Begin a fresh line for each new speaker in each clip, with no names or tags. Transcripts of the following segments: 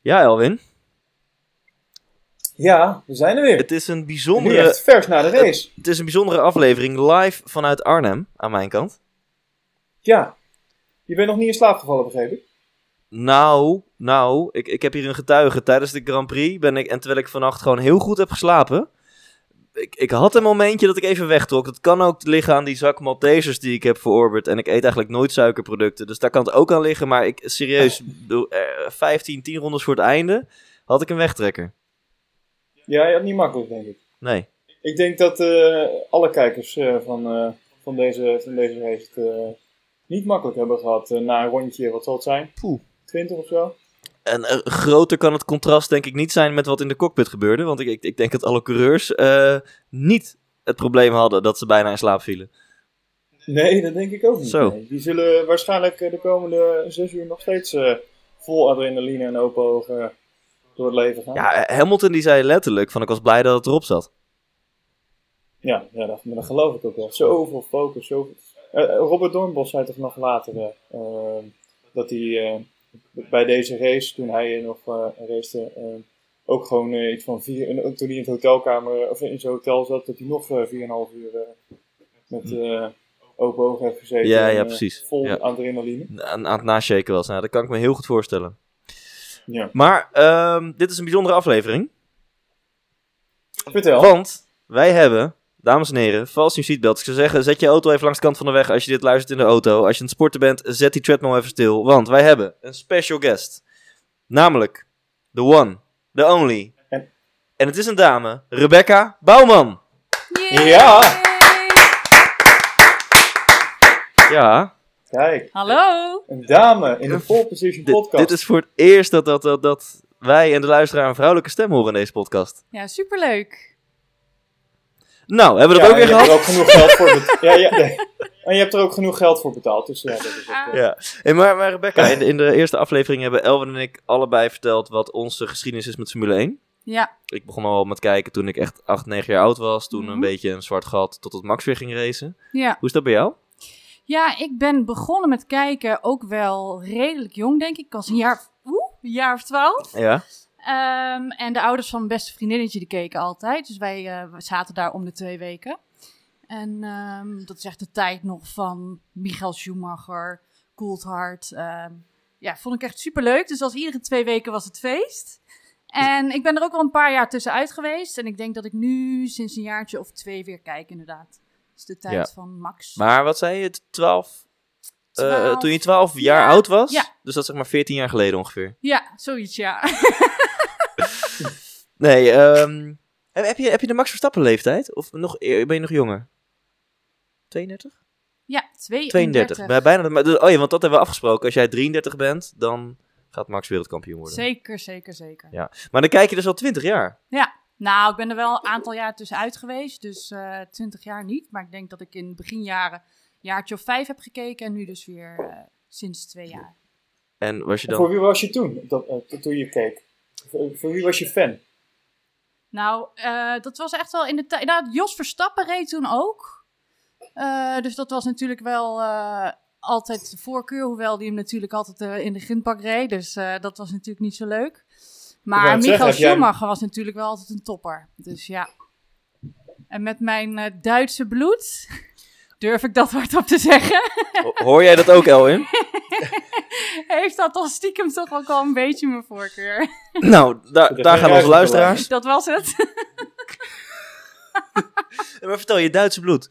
Ja, Elwin.
Ja, we zijn er weer.
Het is een
nu
bijzondere,
echt vers na de race.
het is een bijzondere aflevering live vanuit Arnhem aan mijn kant.
Ja. Je bent nog niet in slaap gevallen, begreep ik?
Nou, nou, ik, ik heb hier een getuige. Tijdens de Grand Prix ben ik, en terwijl ik vannacht gewoon heel goed heb geslapen. Ik, ik had een momentje dat ik even wegtrok. Dat kan ook liggen aan die zak Maltesers die ik heb verorberd. En ik eet eigenlijk nooit suikerproducten. Dus daar kan het ook aan liggen. Maar ik, serieus, doe, eh, 15, 10 rondes voor het einde had ik een wegtrekker.
Ja, ja, niet makkelijk, denk ik.
Nee.
Ik denk dat eh, alle kijkers eh, van, eh, van, deze, van deze race het eh, niet makkelijk hebben gehad eh, na een rondje, wat zal het zijn?
Poeh.
20 of zo?
En eh, groter kan het contrast denk ik niet zijn met wat in de cockpit gebeurde. Want ik, ik, ik denk dat alle coureurs eh, niet het probleem hadden dat ze bijna in slaap vielen.
Nee, dat denk ik ook niet.
Zo.
Nee. Die zullen waarschijnlijk eh, de komende zes uur nog steeds eh, vol adrenaline en open ogen door het leven gaan.
Ja, eh, Hamilton die zei letterlijk van ik was blij dat het erop zat.
Ja, ja dat, maar dat geloof ik ook wel. Zoveel focus, zoveel... Eh, eh, Robert Doornbos zei toch nog later eh, eh, dat hij eh, bij deze race, toen hij eh, nog eh race, ook gewoon eh, iets van vier... en ook toen hij in het hotelkamer, eh, of in zijn hotel zat, dat hij nog eh, vier en een half uur eh, met eh, open ogen heeft gezeten.
Hm. Ja,
en,
ja,
eh,
precies.
vol
Ja.
adrenaline.
Aan, aan het nashaken was. Nou, dat kan ik me heel goed voorstellen.
Ja.
Maar ehm, dit is een bijzondere aflevering.
Vertel.
Want wij hebben, dames en heren, vals nieuw seatbelt. Ik zou zeggen, zet je auto even langs de kant van de weg als je dit luistert in de auto. Als je aan het sporten bent, zet die treadmill even stil. Want wij hebben een special guest. Namelijk, the one, the only.
En-
En het is een dame, Rebecca Bouwman.
Yay!
Ja.
Ja,
Kijk,
Hallo.
een dame in de Full Position
dit,
podcast.
dit is voor het eerst dat, dat, dat, dat wij en de luisteraar een vrouwelijke stem horen in deze podcast.
Ja, superleuk.
Nou, hebben we dat
Ja,
ook weer
en je hebt
gehad?
er ook genoeg geld voor betaald. ja, ja, ja. En je hebt er ook genoeg geld voor betaald, dus ja, dat is ook, eh,
Ja, Hey, maar, maar Rebecca, in de, in de eerste aflevering hebben Elwin en ik allebei verteld wat onze geschiedenis is met Formule 1.
Ja,
Ik begon al met kijken toen ik echt 8, 9 jaar oud was. Toen een
Mhm.
beetje een zwart gat totdat Max weer ging racen.
ja.
Hoe is dat bij jou?
ja, ik ben begonnen met kijken ook wel redelijk jong, denk ik. Ik was een jaar, of- oeh, een jaar of twaalf.
Ja.
Ehm, en de ouders van mijn beste vriendinnetje, die keken altijd. Dus wij eh, we zaten daar om de twee weken. En ehm, dat is echt de tijd nog van Michael Schumacher, Coulthard. ehm ja, vond ik echt superleuk. Dus als iedere twee weken was het feest. En ik ben er ook wel een paar jaar tussenuit geweest. En ik denk dat ik nu sinds een jaartje of twee weer kijk, inderdaad. Dat is de tijd
Ja.
van Max.
Maar wat zei je? 12? eh,
Twaalf.
toen je 12 jaar oud was?
Ja.
Dus dat is zeg maar 14 jaar geleden ongeveer.
Ja, zoiets, ja.
Nee, ehm, heb, heb je, heb je de Max Verstappen leeftijd? Of nog, eer- ben je nog jonger? 32?
ja, 32.
32. Bij- Bijna, de- maar, dus- oh ja, want dat hebben we afgesproken. Als jij 33 bent, dan gaat Max wereldkampioen worden.
Zeker, zeker, zeker.
Maar dan kijk je dus al 20 jaar.
Nou, ik ben er wel een aantal jaar tussenuit geweest, dus eh 20 jaar niet. Maar ik denk dat ik in de beginjaren een jaartje of vijf heb gekeken en nu dus weer eh, sinds twee jaar.
En was je
En
dan...
Voor wie was je toen, dat, eh, to- toen je keek? Voor, voor wie was je fan?
Nou, eh, dat was echt wel in de tijd. Nou, Jos Verstappen reed toen ook. Eh, dus dat was natuurlijk wel eh, altijd de voorkeur, hoewel die hem natuurlijk altijd eh, in de grindbak reed. Dus eh, dat was natuurlijk niet zo leuk.
wou
Maar
het zeggen,
Michael
heb jij-
Schumacher was natuurlijk wel altijd een topper. Dus ja. En met mijn eh, Duitse bloed durf ik dat hardop te zeggen.
Ho- Hoor jij dat ook, Elwin?
heeft dat al stiekem toch ook al een beetje mijn voorkeur.
Nou, daar, daar
heb geen
gaan onze
ruimte
luisteraars.
Dat was het.
Maar vertel je Duitse bloed.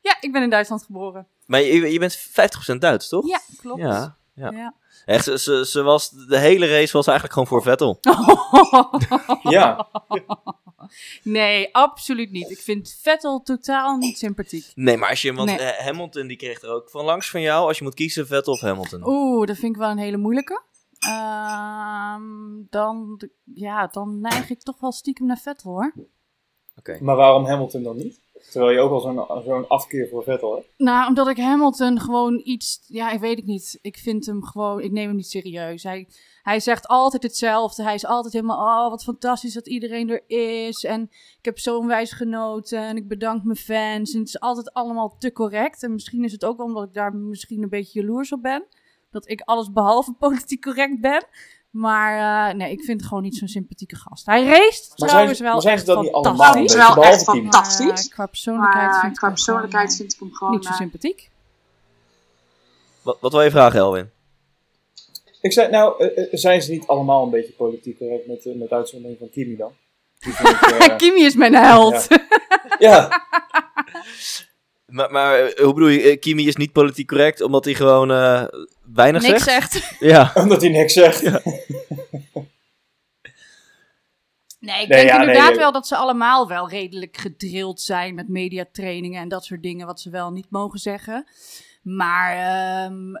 Ja, ik ben in Duitsland geboren.
Maar je, je bent 50% Duits, toch?
Ja, klopt.
Ja. ja.
Ja.
Echt, ze, ze, ze was, de hele race was eigenlijk gewoon voor Vettel.
Oh.
Ja,
nee, absoluut niet. Ik vind Vettel totaal niet sympathiek.
Nee, maar als je, want
Nee.
eh, Hamilton die kreeg er ook van langs van jou, als je moet kiezen, Vettel of Hamilton.
Oeh, dat vind ik wel een hele moeilijke. Eh, Ehm, dan, ja, dan neig ik toch wel stiekem naar Vettel hoor.
Maar waarom Hamilton dan niet? Terwijl je ook al zo'n zo'n afkeer voor Vettel hebt.
Nou, omdat ik Hamilton gewoon iets. Ja, ik weet het niet. Ik vind hem gewoon. Ik neem hem niet serieus. Hij, hij zegt altijd hetzelfde. Hij is altijd helemaal. Oh, wat fantastisch dat iedereen er is. En ik heb zo'n wijs genoten. En ik bedank mijn fans. En het is altijd allemaal te correct. En misschien is het ook wel omdat ik daar misschien een beetje jaloers op ben. Dat ik alles behalve politiek correct ben. Maar eh, nee, ik vind het gewoon niet zo'n sympathieke gast. Hij race
Maar
trouwens
zijn-
wel.
maar zijn ze
echt
dat niet allemaal
fantastisch.
een
Het is
beetje?
wel
behalve
echt
team.
Maar, eh,
fantastisch.
qua persoonlijkheid
Maar
vind ik
qua
hem gewoon,
persoonlijkheid
eh,
vind ik hem gewoon...
niet zo
eh,
sympathiek.
Wat, wat wil je vragen, Elwin?
Ik zei, nou, eh, eh, zijn ze niet allemaal een beetje politiek correct met, eh, met uitzondering van Kimi dan? Die vind ik, eh,
Kimi is mijn held.
ja,
Maar, maar eh, hoe bedoel je, eh, Kimi is niet politiek correct omdat hij gewoon eh, weinig
Niks
zegt?
echt.
Ja.
omdat hij niks zegt.
Nee, ik
Nee,
denk
ja, nee,
inderdaad
eh,
wel dat ze allemaal wel redelijk gedrild zijn met mediatrainingen en dat soort dingen wat ze wel niet mogen zeggen. Maar ehm,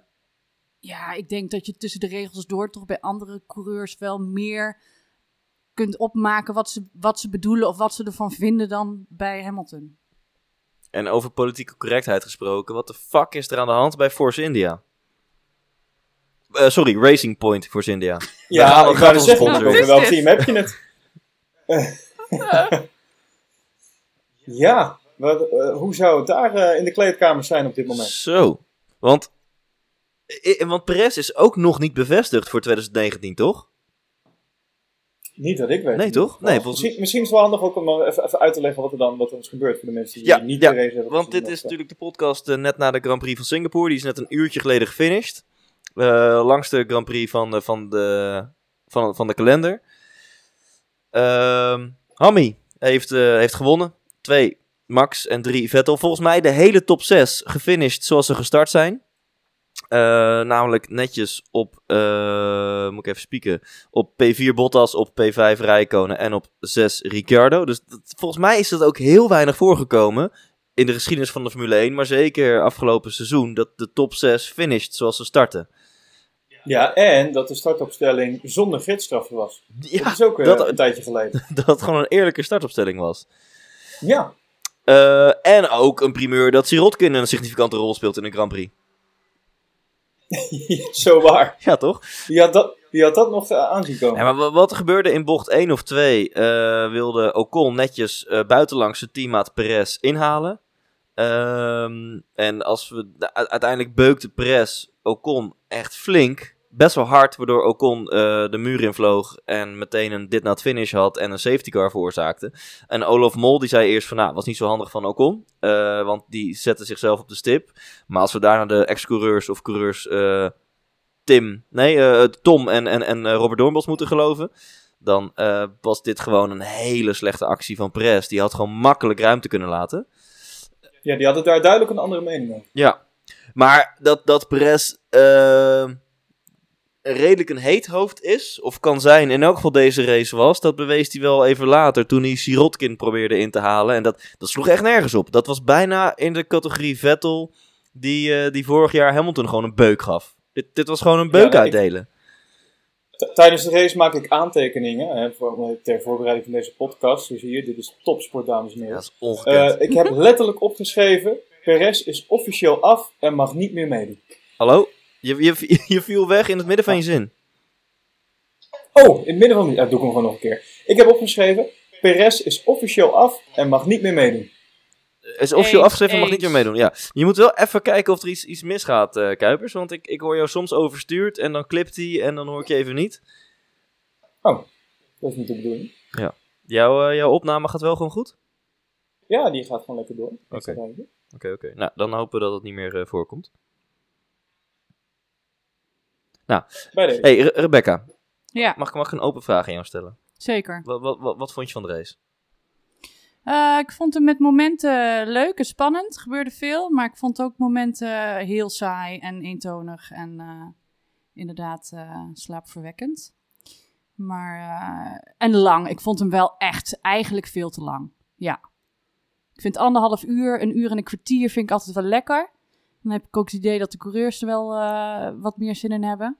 ja, ik denk dat je tussen de regels door toch bij andere coureurs wel meer kunt opmaken wat ze, wat ze bedoelen of wat ze ervan vinden dan bij Hamilton.
En over politieke correctheid gesproken, wat de fuck is er aan de hand bij Force India? Eh, sorry, Racing Point Force India. Daar
Ja,
gaan we- gaan
ik ga
we
het
ons
zeggen,
sponsor
over
op.
welk
Is dit?
team heb je het? ja, wat, eh, hoe zou het daar eh, in de kleedkamer zijn op dit moment?
Zo. Want, eh, want Perez is ook nog niet bevestigd voor 2019, toch?
Niet dat ik weet. Nou,
Nee, toch? Nee, volgens-
misschien, misschien is het wel handig ook om eh, even, even uit te leggen wat er dan wat er ons gebeurt voor de mensen die
Ja,
niet
ja,
de race hebben
Want
gezien.
dit
Of,
is
eh,
natuurlijk de podcast eh, net na de Grand Prix van Singapore. Die is net een uurtje geleden gefinished. Eh langste Grand Prix van de, van de, van, van de kalender. Ehm Hammy heeft, eh, heeft gewonnen. Twee Max en drie Vettel. Volgens mij de hele top 6 gefinished zoals ze gestart zijn. Eh, namelijk netjes op, eh, moet ik even spieken, op P4 Bottas, op P5 Rijkonen en op 6 Ricciardo. Dus dat- volgens mij is dat ook heel weinig voorgekomen in de geschiedenis van de Formule 1, maar zeker afgelopen seizoen, dat de top 6 finished zoals ze starten.
Ja, en dat de startopstelling zonder gidsstraffen was. dat
Ja,
is ook weer
dat-
een tijdje geleden.
dat het gewoon een eerlijke startopstelling was.
ja,
Eh, en ook een primeur dat Sirotkin een significante rol speelt in de Grand Prix.
zo waar.
Ja, toch?
Die had dat, die had dat nog eh, aanzien komen.
Ja, maar wa- wat er gebeurde in bocht 1 of 2, eh, wilde Ocon netjes eh buitenlangs zijn teammaat Perez inhalen. Ehm, en als we da- u- uiteindelijk beukte Perez Ocon echt flink, best wel hard, waardoor Ocon eh, de muur invloog en meteen een dit not finish had en een safety car veroorzaakte. En Olaf Mol die zei eerst van, nou, was niet zo handig van Ocon, eh, want die zette zichzelf op de stip. Maar als we daarna de ex-coureurs of coureurs eh, Tim, nee, eh, Tom en, en, en eh, Robert Doornbos moeten geloven. Dan eh, was dit gewoon een hele slechte actie van Perez. Die had gewoon makkelijk ruimte kunnen laten.
Ja, die hadden daar duidelijk een andere mening over.
Ja. Maar dat, dat Perez eh, redelijk een heet hoofd is, of kan zijn, in elk geval deze race was, dat bewees hij wel even later toen hij Sirotkin probeerde in te halen. En dat, dat sloeg echt nergens op. Dat was bijna in de categorie Vettel, die, eh, die vorig jaar Hamilton gewoon een beuk gaf. Dit, dit was gewoon een
Ja,
beuk
dat ik-
uitdelen.
T- Tijdens de race maak ik aantekeningen hè, voor- eh, ter voorbereiding van deze podcast. Dus hier, dit is topsport, dames en
Ja,
heren.
dat is ongekend.
Eh, ik heb letterlijk opgeschreven: Perez is officieel af en mag niet meer meedoen.
Hallo? Je, je, je viel weg in het midden van je zin.
Oh, in het midden van die. Ah, doe ik hem gewoon nog een keer. Ik heb opgeschreven: Perez is officieel af en mag niet meer meedoen.
Is officieel
Eens,
afgeschreven, mag niet meer
eens.
meedoen. Ja. Je moet wel even kijken of er iets, iets misgaat, eh, Kuipers. Want ik, ik hoor jou soms overstuurd en dan klipt hij en dan hoor ik je even niet.
Oh, Dat is niet de bedoeling.
Jouw, eh, jouw opname gaat wel gewoon goed?
Ja, die gaat gewoon lekker door. Ik
Oké.
ga kijken.
Oké, oké. Nou, dan hopen we dat het niet meer eh, voorkomt.
Bij deze.
hey, Re- Rebecca.
Ja.
Mag, ik- mag ik een open vraag aan jou stellen?
Zeker.
Wat, wat, wat, wat vond je van de race?
Eh, ik vond hem met momenten leuk en spannend. Er gebeurde veel, maar ik vond ook momenten heel saai en eentonig en eh, inderdaad eh, slaapverwekkend. Maar, eh, en lang. Ik vond hem wel echt eigenlijk veel te lang. Ja. Ik vind anderhalf uur, een uur en een kwartier vind ik altijd wel lekker. Dan heb ik ook het idee dat de coureurs er wel eh, wat meer zin in hebben.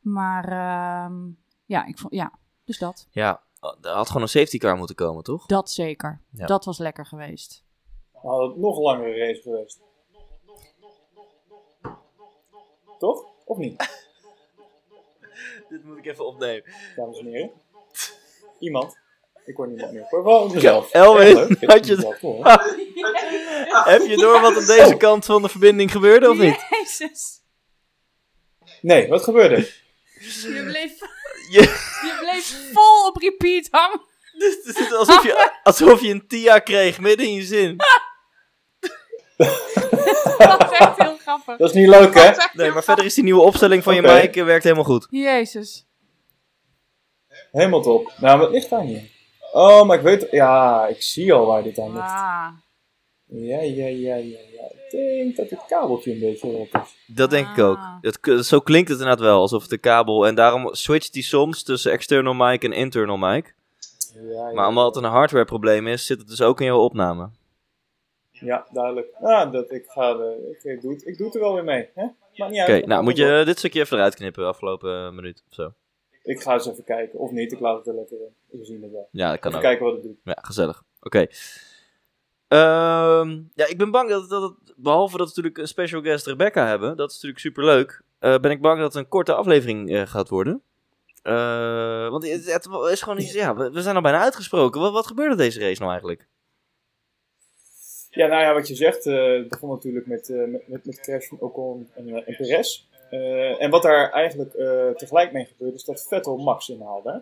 Maar ehm, ja, ik vond, ja, dus dat.
Ja, Oh, er had gewoon een safety car moeten komen, toch?
Dat zeker.
Ja.
Dat was lekker geweest.
Dan had het nog langere race geweest. Toch? Of niet,
Dit moet ik even opnemen.
dames en heren? Iemand? Ik hoor niemand meer. Ik hoor wel mezelf.
Elwin,
Echt leuk. Ik
had je-
mezelf hoor.
Heb je door wat aan deze kant van de verbinding gebeurde of niet?
Jezus.
Nee, wat gebeurde er?
Je bleef,
Je,
je bleef vol op repeat hangen.
dit is het alsof, je, alsof je een TIA kreeg midden in je zin.
Dat was echt heel grappig.
Dat is niet leuk, hè?
Nee, maar verder is die nieuwe opstelling van
Oké.
je mic eh, werkt helemaal goed.
Jezus.
Helemaal top. Nou, wat ligt aan hier? Oh, maar ik weet... Ja, ik zie al waar dit aan ligt.
Ah,
Ja, ja, ja, ja, ja. Ik denk dat het kabeltje een beetje rot is.
Dat denk ik ook.
Ah.
Het, k- zo klinkt het inderdaad wel, alsof de kabel... En daarom switcht die soms tussen external mic en internal mic.
Ja, ja.
Maar omdat het een hardware probleem is, zit het dus ook in jouw opname.
Ja, duidelijk. Nou, dat, ik, ga de, ik, ik doe het, ik doe het er wel weer mee. Hè? Maakt niet
Oké,
uit.
nou moet je dit stukje even eruit knippen, afgelopen eh, minuut of zo.
Ik ga eens even kijken. Of niet, ik laat het er lekker in. We zien het wel.
Ja, dat kan
Even
ook.
kijken wat het doet.
Ja, gezellig. Oké. Ehm, ja, ik ben bang dat, dat het, behalve dat we natuurlijk een special guest Rebecca hebben, dat is natuurlijk superleuk, eh, ben ik bang dat het een korte aflevering eh, gaat worden. Eh, want het, het is gewoon iets, ja, we, we zijn al bijna uitgesproken. Wat, wat gebeurde deze race nou eigenlijk?
Ja, nou ja, wat je zegt, eh, het begon natuurlijk met, eh, met, met, met Crash van Ocon en, eh, en Perez. Eh, en wat daar eigenlijk eh, tegelijk mee gebeurde, is dat Vettel Max inhaalde. hè?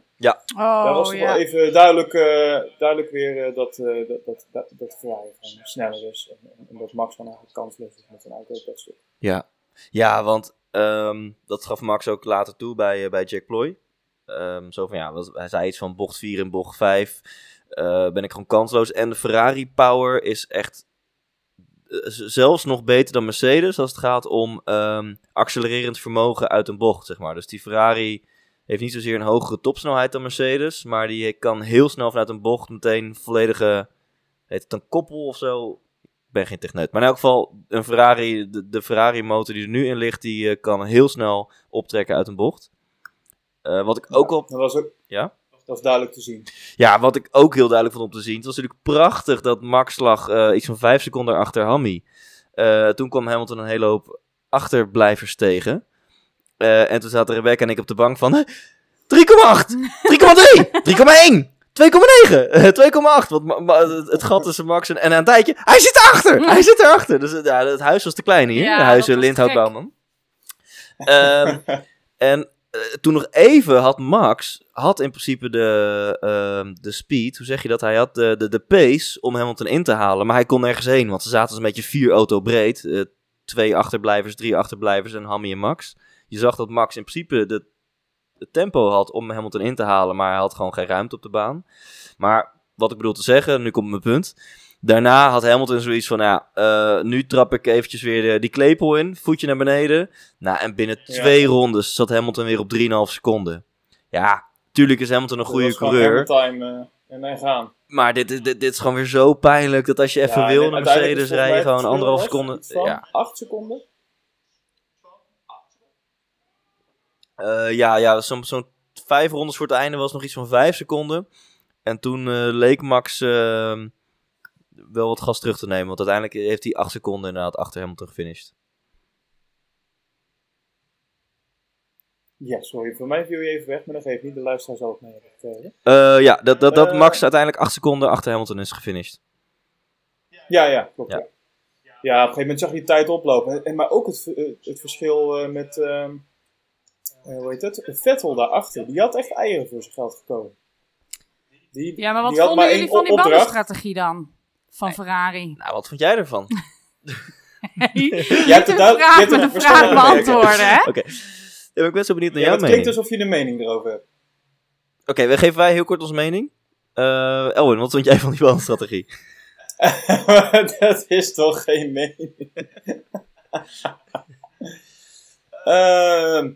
daar was
oh
toch
ja.
wel even duidelijk, eh, duidelijk weer eh, dat, eh dat, dat, dat, dat Ferrari gewoon sneller is. En, en- en dat Max gewoon eigenlijk kansloos is met zijn auto op dat stuk.
Ja, ja want ehm, dat gaf Max ook later toe bij, eh, bij Jack Ploy. Ehm, zo van ja, wat- hij zei iets van bocht 4 en bocht 5. eh, ben ik gewoon kansloos. En de Ferrari Power is echt eh, z- zelfs nog beter dan Mercedes als het gaat om ehm, accelererend vermogen uit een bocht, zeg maar. Dus die Ferrari heeft niet zozeer een hogere topsnelheid dan Mercedes, maar die kan heel snel vanuit een bocht meteen volledige, heet het een koppel of zo, ik ben geen techneut. Maar in elk geval, een Ferrari, de, de Ferrari-motor die er nu in ligt, die eh, kan heel snel optrekken uit een bocht. Eh, wat, ik ook al,
Dat was ook
Ja?
dat was duidelijk te zien.
ja, wat ik ook heel duidelijk vond om te zien. Het was natuurlijk prachtig dat Max lag eh, iets van vijf seconden achter Hammy. Eh, toen kwam Hamilton een hele hoop achterblijvers tegen. Eh, en toen zaten Rebecca en ik op de bank van... "Hè, 3,8! 3,3! 3,1! 2,9! eh, 2,8! Want Ma- Ma- het- het gat tussen Max en, en aan een tijdje... Hij zit erachter! Hij zit erachter! Dus eh, ja, het huis was te klein hier.
Ja,
de huis
dat was
Lindhout
gek.
Bouwman. Ehm, en eh, toen nog even had Max... had in principe de, ehm, de speed... hoe zeg je dat? Hij had de, de, de pace om Hamilton in te halen. Maar hij kon nergens heen. Want ze zaten zo'n beetje vier auto breed. eh, twee achterblijvers, drie achterblijvers en Hammy en Max. Je zag dat Max in principe de, het tempo had om Hamilton in te halen, maar hij had gewoon geen ruimte op de baan. Maar wat ik bedoel te zeggen, nu komt mijn punt. Daarna had Hamilton zoiets van, ja, eh, nu trap ik eventjes weer eh, die klepel in, voetje naar beneden. Nou, en binnen
Ja.
twee rondes zat Hamilton weer op 3,5 seconden. Ja, tuurlijk is Hamilton een goede coureur,
Time, eh, en wij gaan.
maar dit, dit, dit is gewoon weer zo pijnlijk dat als je even
Ja,
wil
en
naar
uiteindelijk
Mercedes
is
dus
volgens mij
rijden, gewoon
het verschil
anderhalf
was
seconde.
iets van
Ja,
Acht seconden?
Eh, ja, ja zo'n zo'n vijf rondes voor het einde was nog iets van vijf seconden. En toen eh, leek Max eh, wel wat gas terug te nemen. Want uiteindelijk heeft hij acht seconden inderdaad achter Hamilton gefinished.
Ja, sorry. Voor mij viel je even weg, maar dan geef niet. De luisteraar zal het mee hebben gekregen.
Eh, ja, dat, dat, dat
Eh.
Max uiteindelijk acht seconden achter Hamilton is gefinished.
Ja, ja, klopt.
Ja.
Ja. Ja, op een gegeven moment zag je die tijd oplopen. En- En, maar ook het, eh, het verschil eh, met, ehm, eh, hoe heet het? Vettel daarachter. Die had echt eieren voor zijn geld gekomen. Die,
ja, maar wat
die had
vonden
maar
jullie
één
van die
opdracht.
bandenstrategie dan? Van Ferrari.
Nou, wat vond jij ervan?
Je hebt
het
een
duid- je
vraag
hebt
met
het
een vraag
verstandig werken.
beantwoorden, hè?
Oké. Ja, dus- maar ik ben zo benieuwd naar
Ja, maar
jouw
het klinkt
mening.
alsof je een mening erover hebt.
Oké, we geven wij heel kort onze mening. Eh, Elwin, wat vond jij van die baanstrategie?
dat is toch geen mening? Ehm,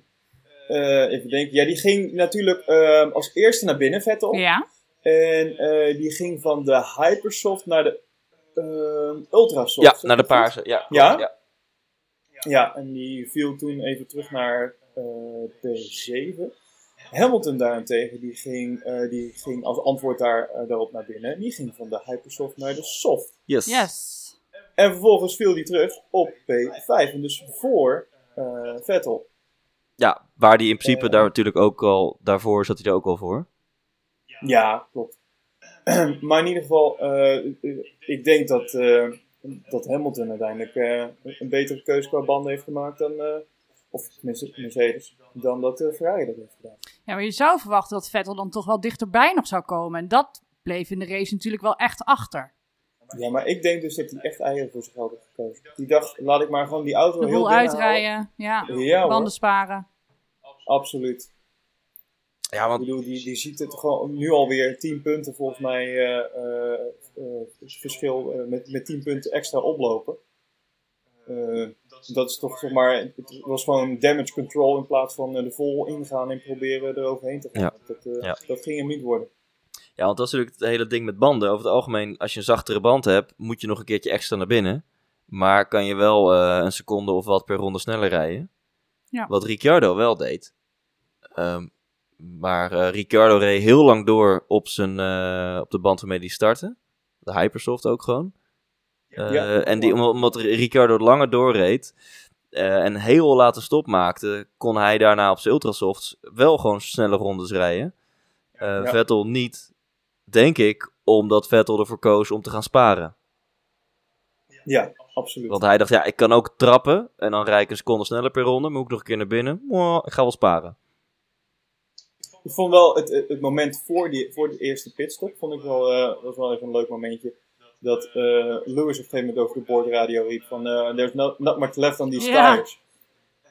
eh, even denken. Ja, die ging natuurlijk ehm, als eerste naar binnen, Vettel.
Ja.
En eh, die ging van de Hypersoft naar de ehm, Ultrasoft.
ja,
Zeg
naar de
ik dat goed?
paarse. Ja,
Ja?
ja?
Ja, en die viel toen even terug naar eh, P7. Hamilton daarentegen, die ging, eh, die ging als antwoord daar, eh, daarop naar binnen. Die ging van de Hypersoft naar de Soft.
Yes.
Yes.
En vervolgens viel die terug op P5. En dus voor eh, Vettel.
Ja, waar die in principe
Eh.
daar natuurlijk ook al... Daarvoor zat hij er ook al voor.
Ja, klopt. maar in ieder geval, eh, ik denk dat, eh, dat Hamilton uiteindelijk eh, een betere keuze qua banden heeft gemaakt dan, eh, of tenminste Mercedes, dan dat eh, Ferrari dat heeft gedaan.
Ja, maar je zou verwachten dat Vettel dan toch wel dichterbij nog zou komen. En dat bleef in de race natuurlijk wel echt achter.
Ja, maar ik denk dus dat hij echt eieren voor zich had gekozen. Die dacht, laat ik maar gewoon die auto
De
heel
boel
binnen
uitrijden, ja.
halen. Ja hoor,
Banden sparen.
absoluut.
Ja,
Ik
want
bedoel, die, die ziet het gewoon nu alweer 10 punten volgens mij eh, eh, eh, verschil eh, met, met 10 punten extra oplopen. Eh, dat is toch zeg maar, het was gewoon damage control in plaats van eh, er vol ingaan en proberen er overheen te gaan.
Ja.
Dat, eh,
Ja.
dat ging hem niet worden.
Ja, want dat is natuurlijk het hele ding met banden. Over het algemeen, als je een zachtere band hebt, moet je nog een keertje extra naar binnen. Maar kan je wel eh, een seconde of wat per ronde sneller rijden.
Ja.
Wat Ricciardo wel deed. Ehm, maar eh, Ricciardo reed heel lang door op, zijn, eh, op de band waarmee die startte. De Hypersoft ook gewoon. Eh,
Ja.
en die, omdat- omdat Ricciardo langer doorreed eh, en heel late stop maakte, kon hij daarna op zijn ultrasofts wel gewoon snelle rondes rijden. Eh,
Ja.
Vettel niet, denk ik, omdat Vettel ervoor koos om te gaan sparen.
Ja, absoluut.
Want hij dacht, ja, ik kan ook trappen en dan rijd ik een seconde sneller per ronde. Moet ik nog een keer naar binnen? Mwah, ik ga wel sparen.
Ik vond wel het, het, het moment voor, die, voor de eerste pitstop, vond ik wel, eh, was wel even een leuk momentje. Dat eh, Lewis op een gegeven moment over de boordradio riep van, eh, there's not, not much left on these
Ja.
tires.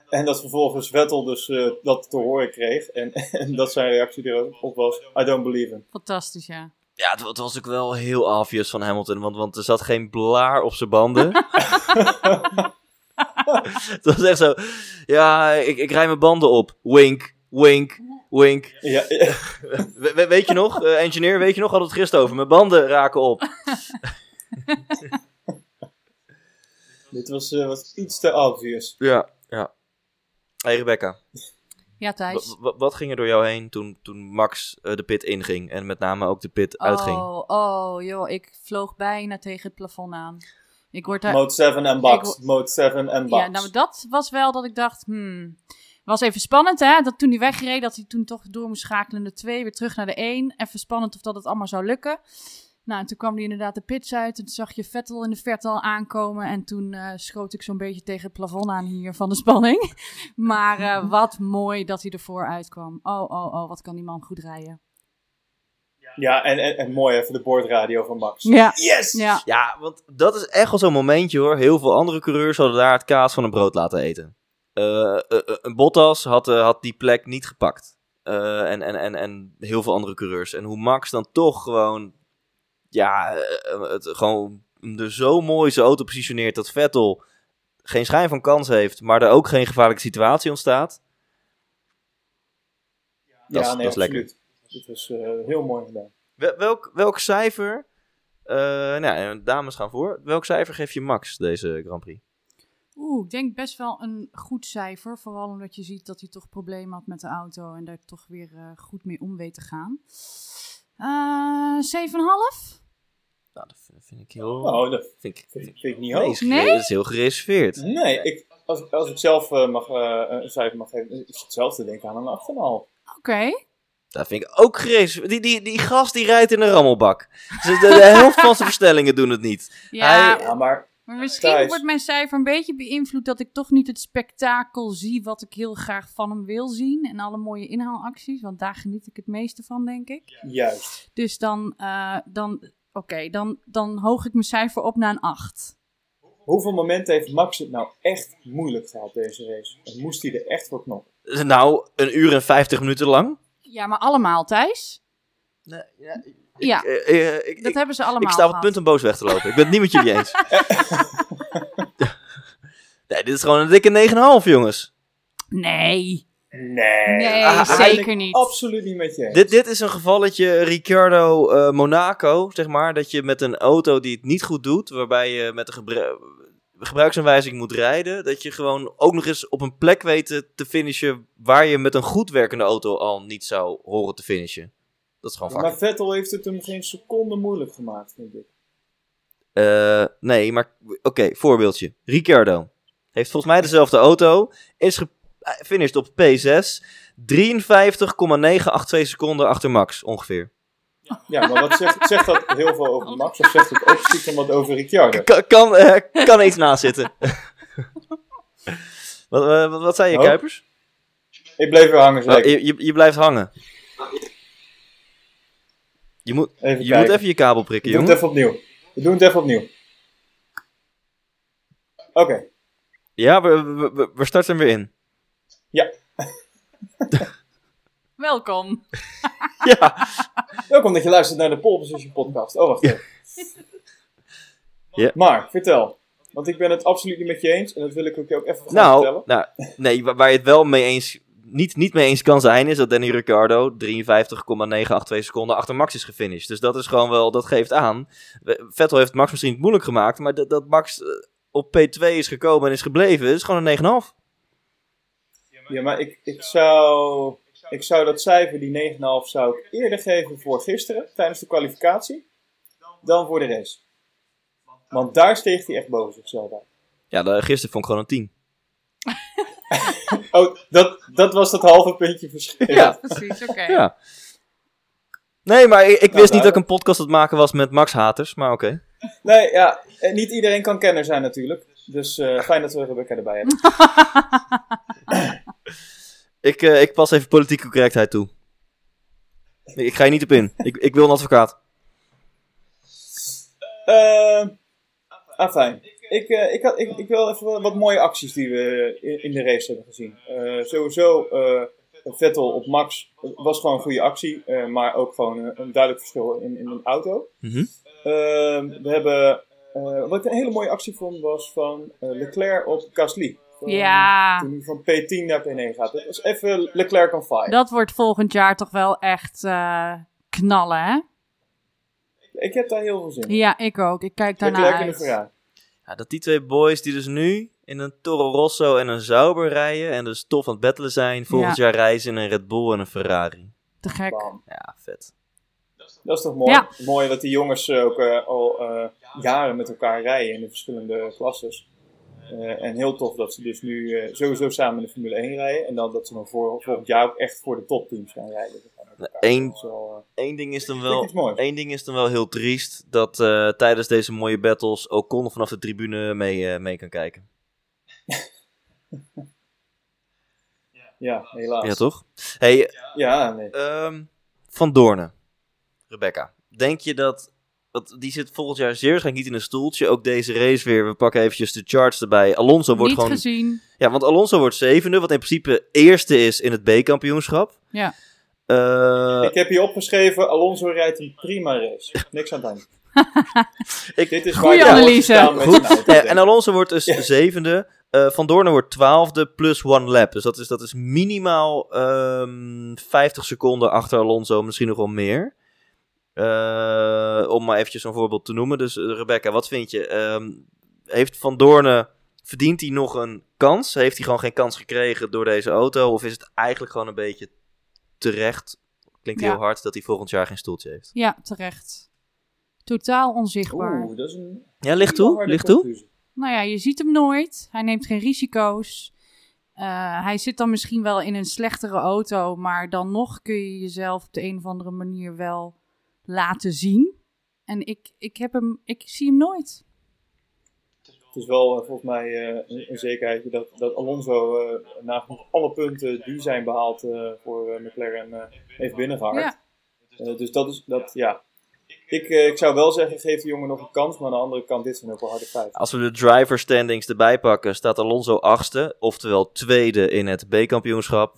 En dat vervolgens Vettel dus eh, dat te horen kreeg en, en dat zijn reactie erop was, I don't believe him.
Fantastisch, ja.
Ja, het, het was ook wel heel obvious van Hamilton, want, want er zat geen blaar op zijn banden. het was echt zo, ja, ik, ik rij mijn banden op. Wink, wink, wink.
Ja, ja,
We- we- weet je nog, eh, engineer, weet je nog, hadden we het gisteren over. Mijn banden raken op.
dit was, eh, was iets te obvious.
Ja, ja. Hey Rebecca,
Ja, Thijs.
wa- wa- wat ging er door jou heen toen, toen Max eh, de pit inging en met name ook de pit uitging?
Oh, oh, joh, ik vloog bijna tegen het plafond aan. Ik word daar...
Mode 7 en box,
Ik-
mode 7 en box.
Ja, nou, dat was wel dat ik dacht, hmm... Was even spannend, hè? Dat toen hij wegreed, dat hij toen toch door moest schakelen naar de 2, weer terug naar de 1. Even spannend of dat het allemaal zou lukken. Nou, en toen kwam hij inderdaad de pits uit. En toen zag je Vettel in de verte al aankomen. En toen eh, schoot ik zo'n beetje tegen het plafond aan hier van de spanning. Maar eh, wat mooi dat hij ervoor uitkwam. Oh, oh, oh, wat kan die man goed rijden.
Ja, en, en, en mooi even de boordradio van Max.
Ja,
Yes!
ja.
Ja, want dat is echt wel zo'n momentje hoor. Heel veel andere coureurs hadden daar het kaas van een brood laten eten. Eh, eh, eh, een Bottas had, eh, had die plek niet gepakt. Eh, en, en, en, en heel veel andere coureurs. En hoe Max dan toch gewoon, ja, eh, het, gewoon hem er zo mooi zijn auto positioneert dat Vettel geen schijn van kans heeft, maar er ook geen gevaarlijke situatie ontstaat. Dat is- dat is lekker.
absoluut. Dit was eh, heel mooi gedaan.
Wel- Welk, welk cijfer, eh, nou, ja, dames gaan voor, welk cijfer geef je Max deze Grand Prix?
Oeh, ik denk best wel een goed cijfer. Vooral omdat je ziet dat hij toch problemen had met de auto en daar toch weer eh, goed mee om weet te gaan. Eh 7,5?
Nou, dat vind, vind ik heel...
Nou, dat
Oh, Vind ik,
vind ik- vind ik niet
Nee,
hoog.
is gere-
Nee?
is heel gereserveerd.
Nee, ik, als, als ik zelf eh, mag, eh, een cijfer mag geven, ik zit zelf te denken aan een 8,5.
Oké.
Dat vind ik ook gereserveerd. Die, die, die gast die rijdt in een rammelbak. Dus de, de helft van zijn verstellingen doen het niet.
Ja,
Hij-
Ja, maar
maar misschien
Thijs.
wordt mijn cijfer een beetje beïnvloed dat ik toch niet het spektakel zie wat ik heel graag van hem wil zien. En alle mooie inhaalacties, want daar geniet ik het meeste van, denk ik.
juist.
Dus dan, eh, dan oké, dan, dan hoog ik mijn cijfer op naar een 8.
Hoeveel momenten heeft Max het nou echt moeilijk gehad deze race? En moest hij er echt voor knoppen?
Nou, een uur en vijftig minuten lang.
Ja, maar allemaal, Thijs. Ja,
Eh, eh, ik,
dat
ik,
hebben ze allemaal
ik sta op het
gehad.
punt om boos weg te lopen. Ik ben het niet met jullie eens. nee, dit is gewoon een dikke 9,5, jongens.
Nee.
Nee.
Nee,
Ah,
zeker
ben ik
niet.
Absoluut niet met je. eens.
Dit, dit is een gevalletje Ricciardo eh, Monaco, zeg maar. Dat je met een auto die het niet goed doet, waarbij je met een gebre- gebruiksaanwijzing moet rijden, dat je gewoon ook nog eens op een plek weet te- te finishen waar je met een goed werkende auto al niet zou horen te finishen. Dat is gewoon
Maar
vaak.
Vettel heeft het hem geen seconde moeilijk gemaakt, vind ik.
Eh, nee, maar oké, voorbeeldje. Ricciardo heeft volgens mij dezelfde auto, is gefinished op P6, 53,982 seconden achter Max ongeveer.
Ja, maar wat zegt, zegt dat heel veel over Max? Of zegt het ook stiekem wat over Ricciardo?
Kan, kan, eh, kan iets naast zitten. wat, eh, wat, wat zei je,
Oh,
Kuipers?
Ik bleef weer hangen,
Oh,
zeker.
je, je, je blijft hangen. Je moet,
Even
je moet
kijken.
even je kabel prikken,
We doen
jongen.
het even opnieuw. We doen het even opnieuw. Oké,
Ja, we, we, we- we starten hem weer in.
Welkom.
Ja.
welkom dat je luistert naar de Pole Position podcast. Oh, wacht even.
Ja.
Maar, vertel. Want ik ben het absoluut niet met je eens. En dat wil ik ook je ook even gaan
Nou,
vertellen.
nou nee, wa- waar je het wel mee eens, niet, niet mee eens kan zijn, is dat Danny Ricciardo 53,982 seconden achter Max is gefinished. Dus dat is gewoon wel, dat geeft aan. We- Vettel heeft Max misschien het moeilijk gemaakt, maar dat, dat Max eh, op P2 is gekomen en is gebleven, is gewoon een 9,5.
Ja, maar ik, ik, zou, ik zou dat cijfer, die 9,5, zou ik eerder geven voor gisteren, tijdens de kwalificatie, dan voor de race. Want daar steeg hij echt boven zichzelf uit.
Ja, de- gisteren vond ik gewoon een 10.
Oh, dat, dat was dat halve puntje verschil.
Ja.
Precies, oké.
Ja. Nou, Nee, maar ik, ik wist niet
duidelijk.
dat ik een podcast aan het maken was met Max Haters, maar oké.
Nee, ja, eh, niet iedereen kan kenner zijn natuurlijk. Dus eh, fijn dat we Rebecca erbij hebben.
Ik, eh, ik pas even politieke correctheid toe. Nee, Ik ga hier niet op in. Ik, ik wil een advocaat.
Eh, ah, fijn. Ik, eh, ik, had, ik, ik wil even wat- wat mooie acties die we in, in de race hebben gezien. Eh, sowieso, eh, Vettel op Max was gewoon een goede actie, eh, maar ook gewoon een, een duidelijk verschil in, in een auto.
Mhm.
Eh, we hebben, eh, wat ik een hele mooie actie vond, was van eh, Leclerc op Gasly. Van-
Ja,
Toen hij van P10 naar P9 gaat. Dat was even Leclerc on fire.
dat wordt volgend jaar toch wel echt eh, knallen, hè?
Ik heb daar heel veel zin in.
Ja, ik ook. Ik kijk daarna
Leclerc in de
uit.
Ferrari.
Ja, dat die twee boys die dus nu in een Toro Rosso en een Zauber rijden en dus tof aan het battelen zijn, volgend jaar reizen in een Red Bull en een Ferrari.
Te gek.
Bam.
Ja, vet.
Dat is toch mooi?
Ja.
Mooi dat die jongens eh, ook eh, al eh, jaren met elkaar rijden in de verschillende klasses. Eh, en heel tof dat ze dus nu eh, sowieso samen in de Formule 1 rijden. En dan dat ze dan voor, volgend jaar ook echt voor de topteams gaan rijden.
Eén
Dat is wel, eh,
één ding is dan
vind ik
wel
iets moois.
Eén ding is dan wel heel triest, dat eh, tijdens deze mooie battles Ocon vanaf de tribune mee, eh, mee kan kijken.
Ja, helaas.
Ja,
Ja,
toch? hey,
nee.
ehm, Van Doornen. Rebecca, denk je dat... Want die zit volgend jaar zeer waarschijnlijk niet in een stoeltje. Ook deze race weer. We pakken eventjes de charts erbij. Alonso wordt
Niet
gewoon...
gezien.
Ja, want Alonso wordt zevende, wat in principe eerste is in het B-kampioenschap.
Ja.
Eh,
Ik heb hier opgeschreven, Alonso rijdt een prima race. Niks aan het hand.
Ik-
Dit is waar
Goeie
je nou, voor
analyse.
staan met
Goed.
een auto,
Eh,
denk ik.
en Alonso wordt dus zevende. Eh, Van Doornen wordt twaalfde plus one lap. Dus dat is, dat is minimaal ehm 50 seconden achter Alonso, misschien nog wel meer. Eh, om maar eventjes een voorbeeld te noemen. Dus eh, Rebecca, wat vind je? Ehm, heeft Van Doornen, verdient hij nog een kans? Heeft hij gewoon geen kans gekregen door deze auto? Of is het eigenlijk gewoon een beetje terecht? Klinkt
Ja.
heel hard dat hij volgend jaar geen stoeltje heeft.
Ja, terecht. Totaal onzichtbaar.
Oeh, dat is een...
Ja, ligt
hele
toe,
harde
ligt toe.
conclusie.
Nou ja, je ziet hem nooit. Hij neemt geen risico's. Eh, hij zit dan misschien wel in een slechtere auto, maar dan nog kun je jezelf op de een of andere manier wel laten zien. En ik, ik, heb hem, ik zie hem nooit.
Het is wel eh, volgens mij eh, een, een zekerheidje dat, dat Alonso eh na alle punten die zijn behaald eh, voor eh, McLaren eh, heeft binnengehaald.
Ja.
Eh, dus dat is, dat, ja. Ik, eh, ik zou wel zeggen, geef die jongen nog een kans, maar aan de andere kant, dit zijn ook wel harde feiten.
Als we de driver standings erbij pakken, staat Alonso achtste, oftewel tweede in het B-kampioenschap.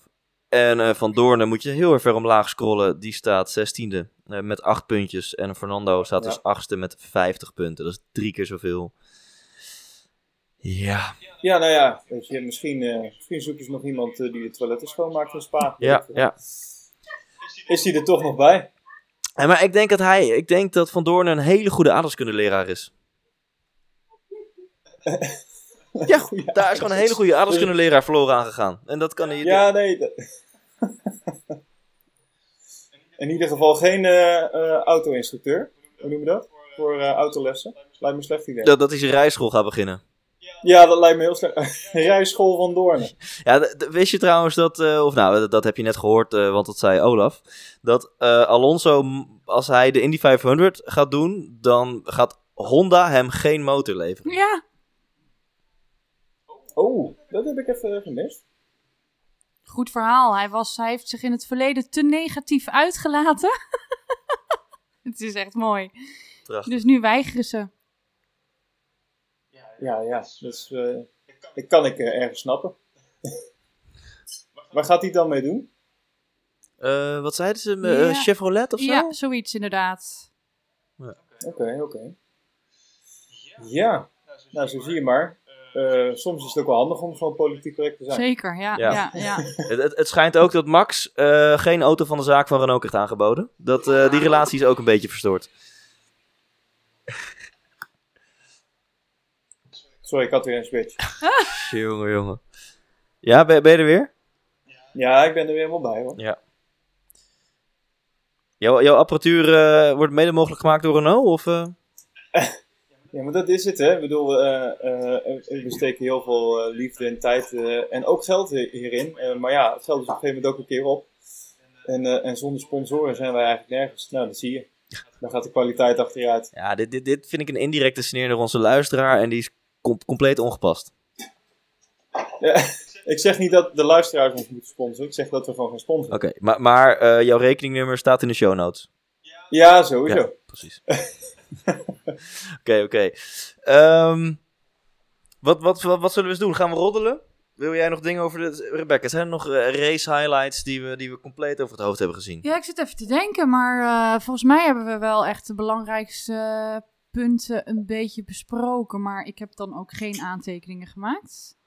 En eh, Van Doornen moet je heel erg ver omlaag scrollen. Die staat zestiende eh, met acht puntjes. En Fernando staat
Ja.
dus achtste met vijftig punten. Dat is drie keer zoveel. Ja,
Ja, nou ja, weet je, misschien, eh, misschien zoeken ze nog iemand eh, die het toiletten schoonmaakt in Spa.
ja, ja.
Is hij er toch nog bij?
En Eh, maar ik denk dat hij, ik denk dat Van Doornen een hele goede aardrijkskundeleraar is. Ja, goed, daar is gewoon een hele goede aardrijkskundeleraar verloren aan gegaan. En dat kan hij...
Ja, nee. dat- In ieder geval geen eh, eh, auto-instructeur. Hoe noem je dat? Voor eh, autolessen. Lijkt me een slecht idee.
Dat, dat hij zijn rijschool gaat beginnen.
Ja, dat lijkt me heel slecht. Rijschool van Doornen.
Ja, d- d- wist je trouwens dat, eh, of nou, dat, dat heb je net gehoord, eh, want dat zei Olaf, dat eh, Alonso, m- als hij de Indy 500 gaat doen, dan gaat Honda hem geen motor leveren.
Ja,
Oh, dat heb ik even eh, gemist.
goed verhaal. Hij, was, hij heeft zich in het verleden te negatief uitgelaten. het is echt mooi.
Prachtig.
Dus nu weigeren ze.
Ja, ja. Dus eh, dat kan ik eh, ergens snappen. Waar gaat hij het dan mee doen?
Eh, wat zeiden ze? eh,
Ja.
Chevrolet of zo?
Ja, zoiets inderdaad.
Oké, oké. Ja, nou zo zie je maar. Eh, soms is het ook wel handig om gewoon politiek correct te zijn.
Zeker, ja.
Ja.
ja. ja,
Het, het, het schijnt ook dat Max eh, geen auto van de zaak van Renault krijgt aangeboden. Dat, eh, die relatie is ook een beetje verstoord.
Sorry, ik had weer een switch.
Jongen, jongen. Ja, ben, ben je er weer?
Ja, ik ben er weer helemaal bij hoor.
Jouw, jouw apparatuur eh, wordt mede mogelijk gemaakt door Renault? Of, eh?
Ja, maar dat is het hè. Ik bedoel, eh, eh, we steken heel veel eh, liefde en tijd eh, en ook geld hi- hierin. Eh, maar ja, het geld is op een gegeven moment ook een keer op. En, eh, en zonder sponsoren zijn wij eigenlijk nergens. Nou, dat zie je. Dan gaat de kwaliteit achteruit.
Ja, dit, dit, dit vind ik een indirecte sneer naar onze luisteraar en die is com- compleet ongepast.
Ja, ik zeg niet dat de luisteraars ons moeten sponsoren. Ik zeg dat we gewoon gaan
Oké,
sponsoren.
maar, maar eh, jouw rekeningnummer staat in de show notes.
Ja, sowieso.
Ja, precies. Oké, oké. Ehm, wat, wat, wat, wat zullen we eens doen? Gaan we roddelen? Wil jij nog dingen over de... Rebecca, zijn er nog eh, race highlights die we, die we compleet over het hoofd hebben gezien?
ik zit even te denken, maar eh, volgens mij hebben we wel echt de belangrijkste eh, punten een beetje besproken. Maar ik heb dan ook geen aantekeningen gemaakt.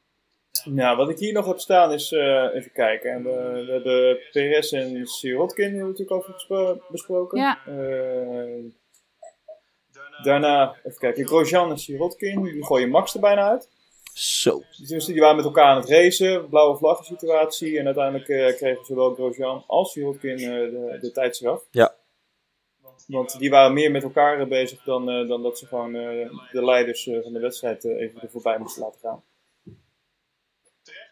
Nou, wat ik hier nog heb staan is, eh, even kijken, en we, we hebben PRS en Sirotkin hebben we natuurlijk over gespro- besproken.
Ja.
Eh, daarna, even kijken, Grosjean en Sirotkin, die gooien Max er bijna uit.
Zo.
Dus die waren met elkaar aan het racen, blauwe vlaggen situatie. En uiteindelijk eh, kregen zowel Grosjean als Sirotkin eh de, de tijdstraf.
Ja.
Want die waren meer met elkaar eh, bezig dan, eh, dan dat ze gewoon eh, de leiders eh, van de wedstrijd eh, even er voorbij moesten laten gaan.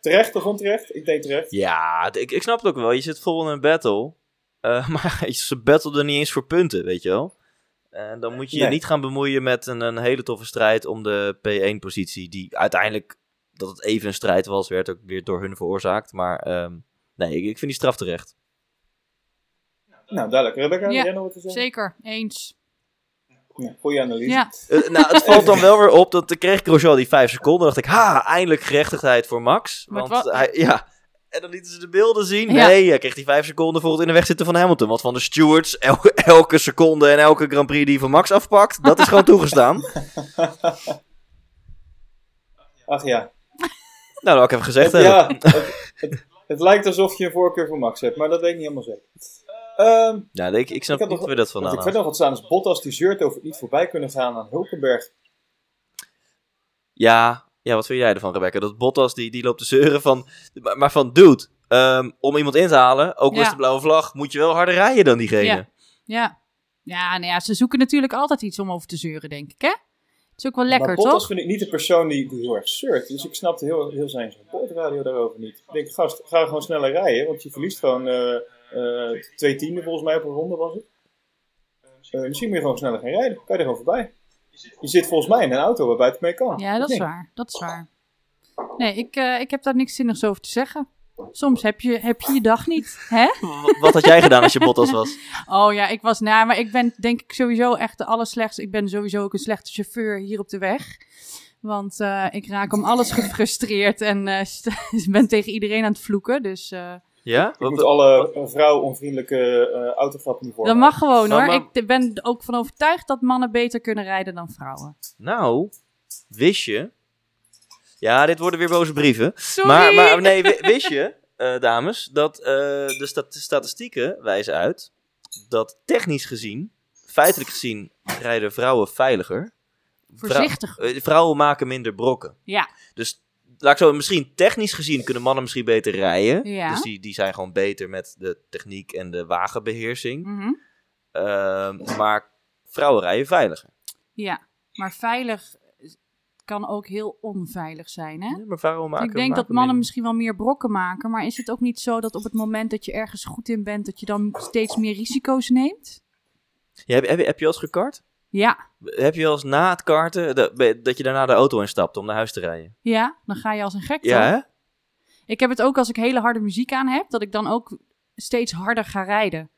Terecht of onterecht? Ik denk terecht.
Ja, d- ik, ik snap het ook wel. Je zit vol in een battle. Eh, maar ze battelen niet eens voor punten, weet je wel. En dan moet je je
Nee.
niet gaan bemoeien met een, een hele toffe strijd om de P1-positie. Die uiteindelijk, dat het even een strijd was, werd ook weer door hun veroorzaakt. Maar ehm, nee, ik, ik vind die straf terecht.
Nou, duidelijk. Rebecca,
Ja,
jij nog wat te zeggen?
Zeker, eens.
Ja, goeie analyse.
Ja,
Eh, nou, het valt dan wel weer op. Dat dan kreeg Grosjean die vijf seconden. dacht ik, ha, eindelijk gerechtigheid voor Max.
Maar het
Want
wa-
hij, ja... En dan lieten ze de beelden zien.
Ja.
Nee, hij kreeg die vijf seconden voor het in de weg zitten van Hamilton. Want van de stewards, el- elke seconde en elke Grand Prix die van Max afpakt, dat is gewoon toegestaan. nou,
Ach ja.
dat had ik even gezegd hebben.
ja het, het, het lijkt alsof je een voorkeur voor Max hebt, maar dat weet ik niet helemaal zeker. Ehm
Ja, ik, ik snap
Ik had
niet
nog-
waar dat nou
Wat
vandaan
ik
had.
verder nog had staan is Bottas die zeurt over het niet voorbij kunnen gaan aan Hulkenberg.
Ja, ja, wat vind jij ervan, Rebecca? Dat Bottas, die, die loopt te zeuren van... Maar, maar van, dude, ehm, om iemand in te halen, ook al is
Ja.
de blauwe vlag, moet je wel harder rijden dan diegene.
Ja. ja. Ja, nou ja, ze zoeken natuurlijk altijd iets om over te zeuren, denk ik, hè? Het is ook wel lekker,
maar Bottas
toch?
vind ik niet de persoon die, die heel erg zeurt. Dus ik snapte heel, heel zijn supportradio daarover niet. Ik denk, gast, ga gewoon sneller rijden, want je verliest gewoon eh, eh, twee tienden volgens mij op een ronde was het. Eh, misschien moet je gewoon sneller gaan rijden. Kan je er gewoon voorbij. Je zit volgens mij in een auto waarbij het mee
Oh,
kan.
Ja, dat is waar. Dat is waar. Nee, ik, eh, ik heb daar niks zinnigs over te zeggen. Soms heb je heb je, je dag niet, hè?
Wat, wat had jij gedaan als je Bottas was?
Oh ja, ik was na, maar ik ben denk ik sowieso echt de allerslechtste. Ik ben sowieso ook een slechte chauffeur hier op de weg. Want eh, ik raak om alles gefrustreerd en eh, st- ben tegen iedereen aan het vloeken. Dus eh,
Ja?
Ik moet alle eh, vrouw-onvriendelijke eh autograppen niet
dat
worden.
mag gewoon
Nou,
hoor.
maar-
Ik ben er ook van overtuigd dat mannen beter kunnen rijden dan vrouwen.
Nou, wist je. Ja, dit worden weer boze brieven.
Sorry!
Maar, maar nee, wi- wist je, eh, dames, dat eh, de stat- statistieken wijzen uit dat technisch gezien, feitelijk gezien, rijden vrouwen veiliger.
Voorzichtig.
vrou- eh, vrouwen maken minder brokken.
Ja.
Dus laat ik zo, misschien technisch gezien kunnen mannen misschien beter rijden.
Ja.
Dus die, die zijn gewoon beter met de techniek en de wagenbeheersing.
Mhm.
Ehm, maar vrouwen rijden veiliger.
Ja, maar veilig kan ook heel onveilig zijn, hè?
Ja, maar vrouwen maken,
ik denk dat
maken
mannen
minder-
misschien wel meer brokken maken, maar is het ook niet zo dat op het moment dat je ergens goed in bent, dat je dan steeds meer risico's neemt?
Ja, heb, heb, je- heb je wel eens gekart?
Ja,
Heb je wel eens na het karten de- dat je daarna de auto instapt om naar huis te rijden?
ja, dan ga je als een gek.
Ja,
toch?
hè?
Ik heb het ook als ik hele harde muziek aan heb, dat ik dan ook steeds harder ga rijden.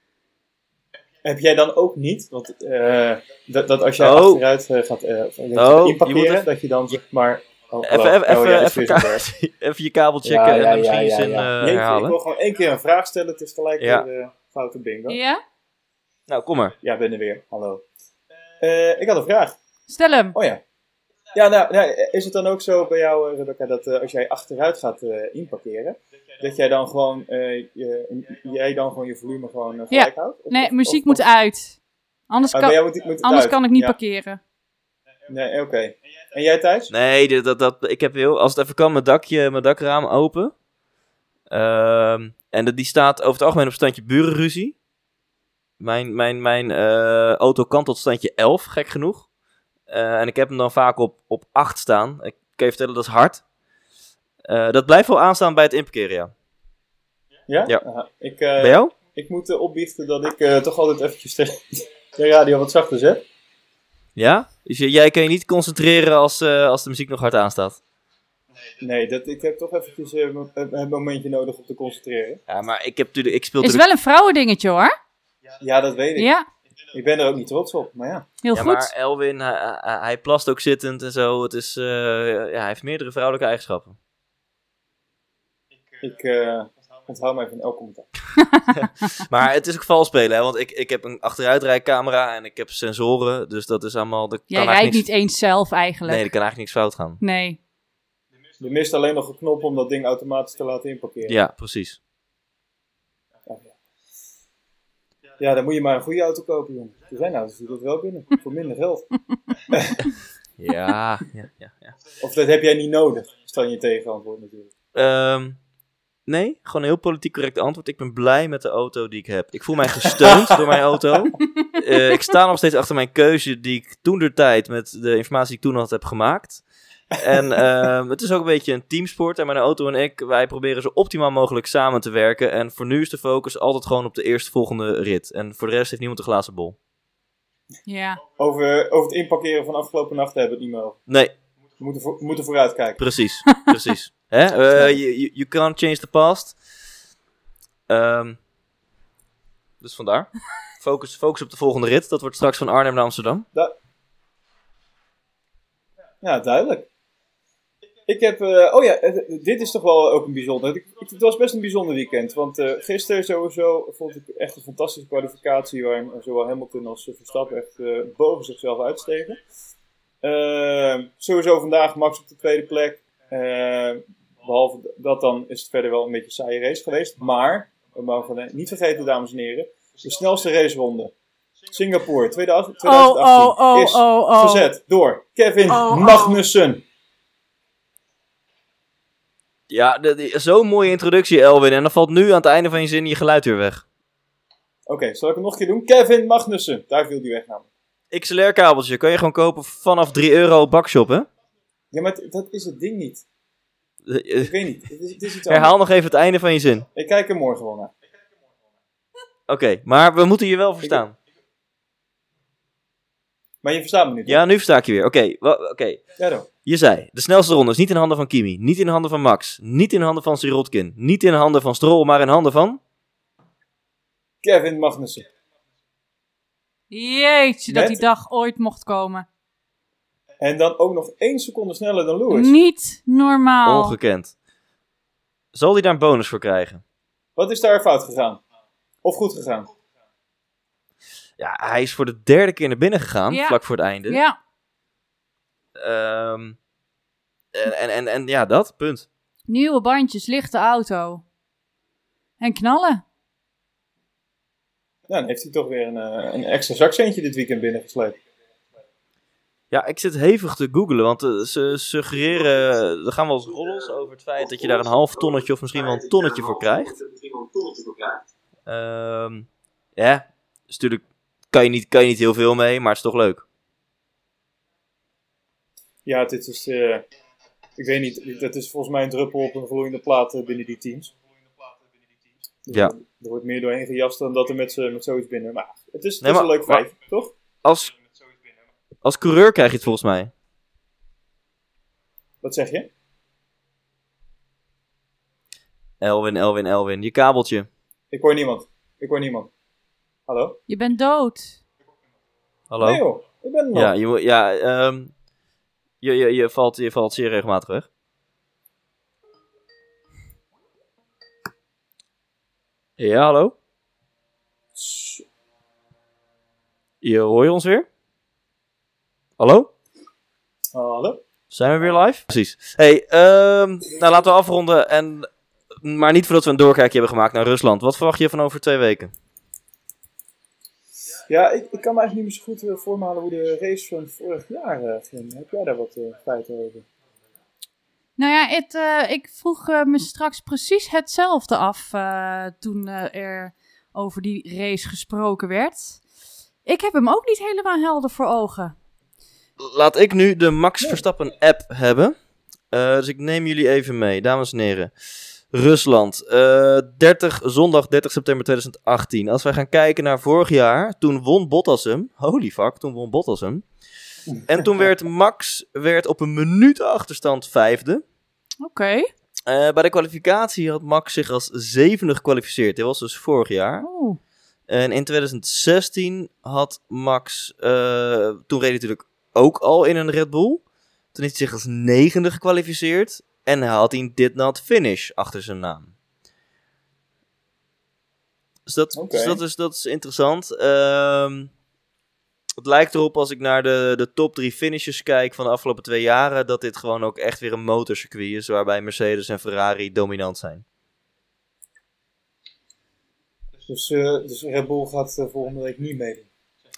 Heb jij dan ook niet? Want eh, dat, dat als jij
Oh.
achteruit eh, gaat eh, of je gaat
Oh, je
inparkeren,
moet even-
dat je dan zeg maar... Oh,
Even, even,
oh,
even,
ja, dit is
even,
weer zo'n berg.
ka- even je kabel checken en dan misschien je zin eh,
Jeetje, Ik
herhalen.
wil gewoon één keer een vraag stellen, het is gelijk
Ja.
weer eh, foute bingo. Ja,
Ja?
Nou, kom maar.
ben er weer. Hallo. Eh, ik had een vraag.
Stel hem.
Oh ja. Ja, nou, nou, is het dan ook zo bij jou, eh, Rebecca, dat eh, als jij achteruit gaat eh, inparkeren, dat jij dan gewoon, eh, je, jij dan gewoon je volume gewoon eh,
Ja.
gelijk houdt? Of-
Nee,
of-
muziek
of-
moet uit. Anders
Ah, bij
kan,
jou moet- moet het
anders
uit.
kan ik niet
Ja.
parkeren.
Nee, oké. En jij thuis?
Nee, dit- dat, dat, ik heb heel, als het even kan, mijn, dakje, mijn dakraam open. Ehm, en dat, die staat over het algemeen op standje burenruzie. Mijn, mijn, mijn eh, auto kan tot standje 11, gek genoeg. Eh, en ik heb hem dan vaak op, op 8 staan. Ik kan je vertellen, dat is hard. Eh, dat blijft wel aanstaan bij het inparkeren, ja.
Ja?
Ja.
Aha. Ik,
Bij
eh,
jou?
ik moet eh, opbiechten dat ik eh, toch altijd eventjes de, de radio wat zachter zet.
Ja? Dus j- jij kan je niet concentreren als, eh, als de muziek nog hard aanstaat.
Nee, dat, ik heb toch eventjes eh, mo- eh, een momentje nodig om te concentreren.
Ja, maar ik, heb natuurlijk, ik speel
Is
natuurlijk...
wel een vrouwendingetje hoor.
Ja, dat weet ik.
Ja,
Ik ben er ook niet trots op, maar ja.
heel
Ja,
goed.
maar Elwin, hij, hij- hij plast ook zittend en zo. Het is, eh, ja, hij heeft meerdere vrouwelijke eigenschappen.
Ik eh, onthoud mij van elk commentaar.
Maar het is ook vals spelen, hè, want ik, ik heb een achteruitrijcamera en ik heb sensoren. Dus dat is allemaal... Dat
Jij
kan
rijdt
eigenlijk
niet
niks,
eens zelf eigenlijk.
Nee, er kan eigenlijk niks fout gaan.
Nee.
Er mist alleen nog een knop om dat ding automatisch te laten inparkeren.
Ja, precies.
Ja, dan moet je maar een goede auto kopen, jongen. Er zijn auto's die dat wel kunnen, voor minder geld.
Ja, ja, ja. ja.
Of dat heb jij niet nodig, stel je tegenantwoord natuurlijk.
Ehm, nee, gewoon een heel politiek correct antwoord. Ik ben blij met de auto die ik heb. Ik voel mij gesteund door mijn auto. Eh, ik sta nog steeds achter mijn keuze die ik toen der tijd met de informatie die ik toen had heb gemaakt. En ehm, het is ook een beetje een teamsport. En mijn auto en ik, wij proberen zo optimaal mogelijk samen te werken. En voor nu is de focus altijd gewoon op de eerstvolgende rit. En voor de rest heeft niemand een glazen bol.
Ja.
Over, over het inparkeren van afgelopen nacht hebben we het niet meer over.
Nee,
We moeten, voor, we moeten vooruitkijken.
Precies, precies. Hè? Eh, you, you- you can't change the past. Ehm, dus vandaar. Focus, focus op de volgende rit. Dat wordt straks van Arnhem naar Amsterdam.
Ja, duidelijk. Ik heb, eh, oh ja, eh, dit is toch wel ook een bijzonder. Ik- ik- Het was best een bijzonder weekend, want eh, gisteren sowieso vond ik echt een fantastische kwalificatie waarin zowel Hamilton als eh, Verstappen echt eh, boven zichzelf uitstegen. Eh, sowieso vandaag Max op de tweede plek. Eh, behalve dat dan is het verder wel een beetje een saaie race geweest. Maar, we mogen eh, niet vergeten dames en heren, de snelste raceronde. Singapore 2018
Oh, oh, oh,
is
oh, oh.
verzet door Kevin
Oh, oh.
Magnussen.
Ja, de- die- zo'n mooie introductie, Elwin. En dan valt nu aan het einde van je zin je geluid weer weg.
Oké, zal ik hem nog een keer doen? Kevin Magnussen. Daar viel die weg namelijk.
XLR-kabeltje kan je gewoon kopen vanaf 3 euro op Bakshop, hè?
Ja, maar het- dat is het ding niet.
Eh, eh,
Ik weet niet. Het is, het is iets
Herhaal
anders.
nog even het einde van je zin. Oké,
Ik kijk er morgen wel naar.
maar we moeten je wel verstaan.
Maar je verstaat me nu. toch?
Ja, nu versta ik je weer. Oké, wa- oké.
Ja, dan.
Je zei, de snelste ronde is niet in handen van Kimi, niet in handen van Max, niet in handen van Sirotkin, niet in handen van Stroll, maar in handen van...
Kevin Magnussen.
Jeetje, dat
Met-
die dag ooit mocht komen.
En dan ook nog één seconde sneller dan Lewis.
Niet normaal.
Ongekend. Zal hij daar een bonus voor krijgen?
Wat is daar fout gegaan? Of goed gegaan?
Ja, hij is voor de derde keer naar binnen gegaan,
Ja.
vlak voor het einde.
ja,
Ehm, en, en, en, en ja, dat, punt.
nieuwe bandjes, lichte auto. En knallen.
Nou, dan heeft hij toch weer een, eh, een extra zakcentje dit weekend binnengesleept.
Ja, ik zit hevig te googlen, want eh, ze suggereren, er gaan wel eens roddels over het feit dat je daar een half tonnetje of misschien wel een tonnetje voor krijgt. Ehm, ja, is natuurlijk kan je, niet, kan je niet heel veel mee, maar het is toch leuk.
Ja, dit is. eh, ik weet niet, dat is volgens mij een druppel op een gloeiende plaat eh, binnen die teams. Dus
Ja.
Er wordt meer doorheen gejast dan dat er met, z'n- met zoiets binnen. Maar het is, het
Nee,
is een
maar-
leuk feit, toch?
Als, als coureur krijg je het volgens mij.
Wat zeg je?
Elwin, Elwin, Elwin, je kabeltje.
Ik hoor niemand. Ik hoor niemand. Hallo?
Je bent dood.
Hallo?
Nee joh, ik ben er nog.
Ja, je, moet- ja ehm, je, je, je, valt, je valt zeer regelmatig weg. Ja, hallo?
Tss,
Je, hoor je ons weer? Hallo?
Hallo?
Zijn we weer live? Precies. hey, ehm, nou laten we afronden. En, maar niet voordat we een doorkijkje hebben gemaakt naar Rusland. Wat verwacht je van over twee weken?
Ja, ik, ik kan me eigenlijk niet meer zo goed eh, voormalen hoe de race van vorig jaar eh, ging. Heb jij daar wat eh, feiten over?
Nou ja, het, eh, ik vroeg eh, me straks precies hetzelfde af eh, toen eh, er over die race gesproken werd. Ik heb hem ook niet helemaal helder voor ogen.
Laat ik nu de Max Verstappen app hebben. Eh, dus ik neem jullie even mee, dames en heren. Rusland, eh, 30, zondag 30 september 2018. Als wij gaan kijken naar vorig jaar, toen won Bottas hem. Holy fuck, toen won Bottas hem. En toen werd Max werd op een minuut achterstand vijfde.
Oké.
Eh, bij de kwalificatie had Max zich als zevende gekwalificeerd. Dit was dus vorig jaar.
Oeh.
Eh, En in 2016 had Max, eh, toen reed hij natuurlijk ook al in een Red Bull. Toen heeft hij zich als negende gekwalificeerd. En hij had hij een did not finish achter zijn naam. Dus dat,
Oké.
dus dat, is, dat is interessant. Ehm, het lijkt erop als ik naar de, de top drie finishes kijk van de afgelopen twee jaren. Dat dit gewoon ook echt weer een motorcircuit is. Waarbij Mercedes en Ferrari dominant zijn.
Dus, eh, dus Red Bull gaat eh, volgende week niet meedoen.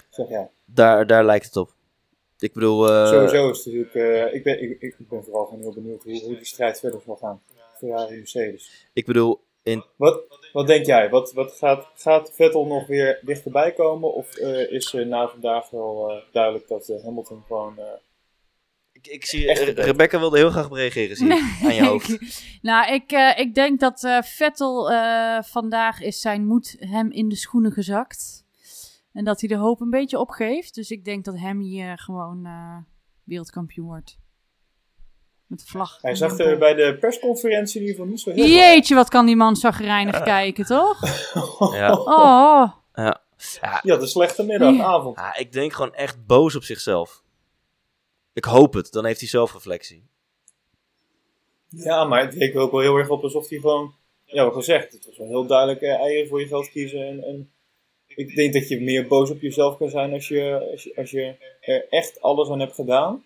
Zeg jij.
Daar, daar lijkt het op. Ik bedoel. eh,
Sowieso is het natuurlijk. eh, ik, ben, ik, ik ben vooral gewoon heel benieuwd hoe, hoe die strijd verder zal gaan. Ferrari en Mercedes.
Ik bedoel, in
Dus Wat, wat denk jij? Wat, wat gaat, gaat Vettel nog weer dichterbij komen? Of eh, is eh, na vandaag wel eh, duidelijk dat eh, Hamilton gewoon. eh,
Ik, ik zie,
Echt
Re-
gebeurd.
Rebecca wilde heel graag op reageren, zie ik, aan je hoofd.
nou, ik, eh, ik denk dat eh, Vettel eh, vandaag is zijn moed hem in de schoenen gezakt. En dat hij de hoop een beetje opgeeft. Dus ik denk dat hem hier gewoon eh, wereldkampioen wordt. Met de vlag.
hij zag er bij de persconferentie in ieder geval niet zo heel.
Jeetje, wat kan die man zagrijnig kijken, toch?
Ja.
Oh,
Ja, de slechte middag,
Ja.
avond.
Ah, ik denk gewoon echt boos op zichzelf. Ik hoop het, dan heeft hij zelfreflectie.
Ja, maar het leek er ook wel heel erg op alsof hij gewoon. Ja, wat gezegd, het was wel heel duidelijk eh, eieren voor je geld kiezen. En, en ik denk dat je meer boos op jezelf kan zijn als je, als je, als je er echt alles aan hebt gedaan.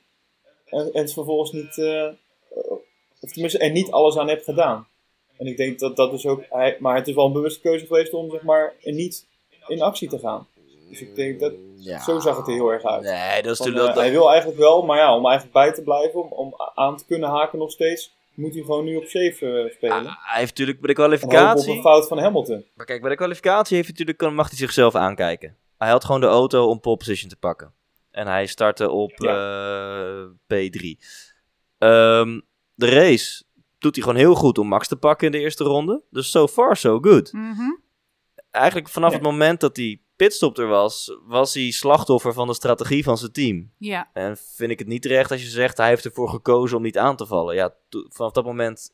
En, en het vervolgens niet. eh, of tenminste, er niet alles aan hebt gedaan. En ik denk dat dat is ook. Hij, maar het is wel een bewuste keuze geweest om zeg maar er niet in actie te gaan. Dus ik denk dat.
Ja.
Zo zag het er heel erg uit.
Nee, dat is
Van,
natuurlijk...
eh, hij
dat-
wil eigenlijk wel, maar ja, om eigenlijk bij te blijven, om, om a- aan te kunnen haken nog steeds, moet hij gewoon nu op 7 spelen.
ah, hij heeft natuurlijk bij de
en hopen op
kwalificatie...
een fout van Hamilton.
Maar kijk, bij de kwalificatie heeft hij natuurlijk, mag hij zichzelf aankijken. Hij had gewoon de auto om pole position te pakken. En hij startte op eh, P3. Ehm, de race doet hij gewoon heel goed om Max te pakken in de eerste ronde. Dus so far so good.
mhm.
eigenlijk vanaf
Ja.
het moment dat die pitstop er was, was hij slachtoffer van de strategie van zijn team.
ja.
En vind ik het niet terecht als je zegt, hij heeft ervoor gekozen om niet aan te vallen. Ja, to- vanaf dat moment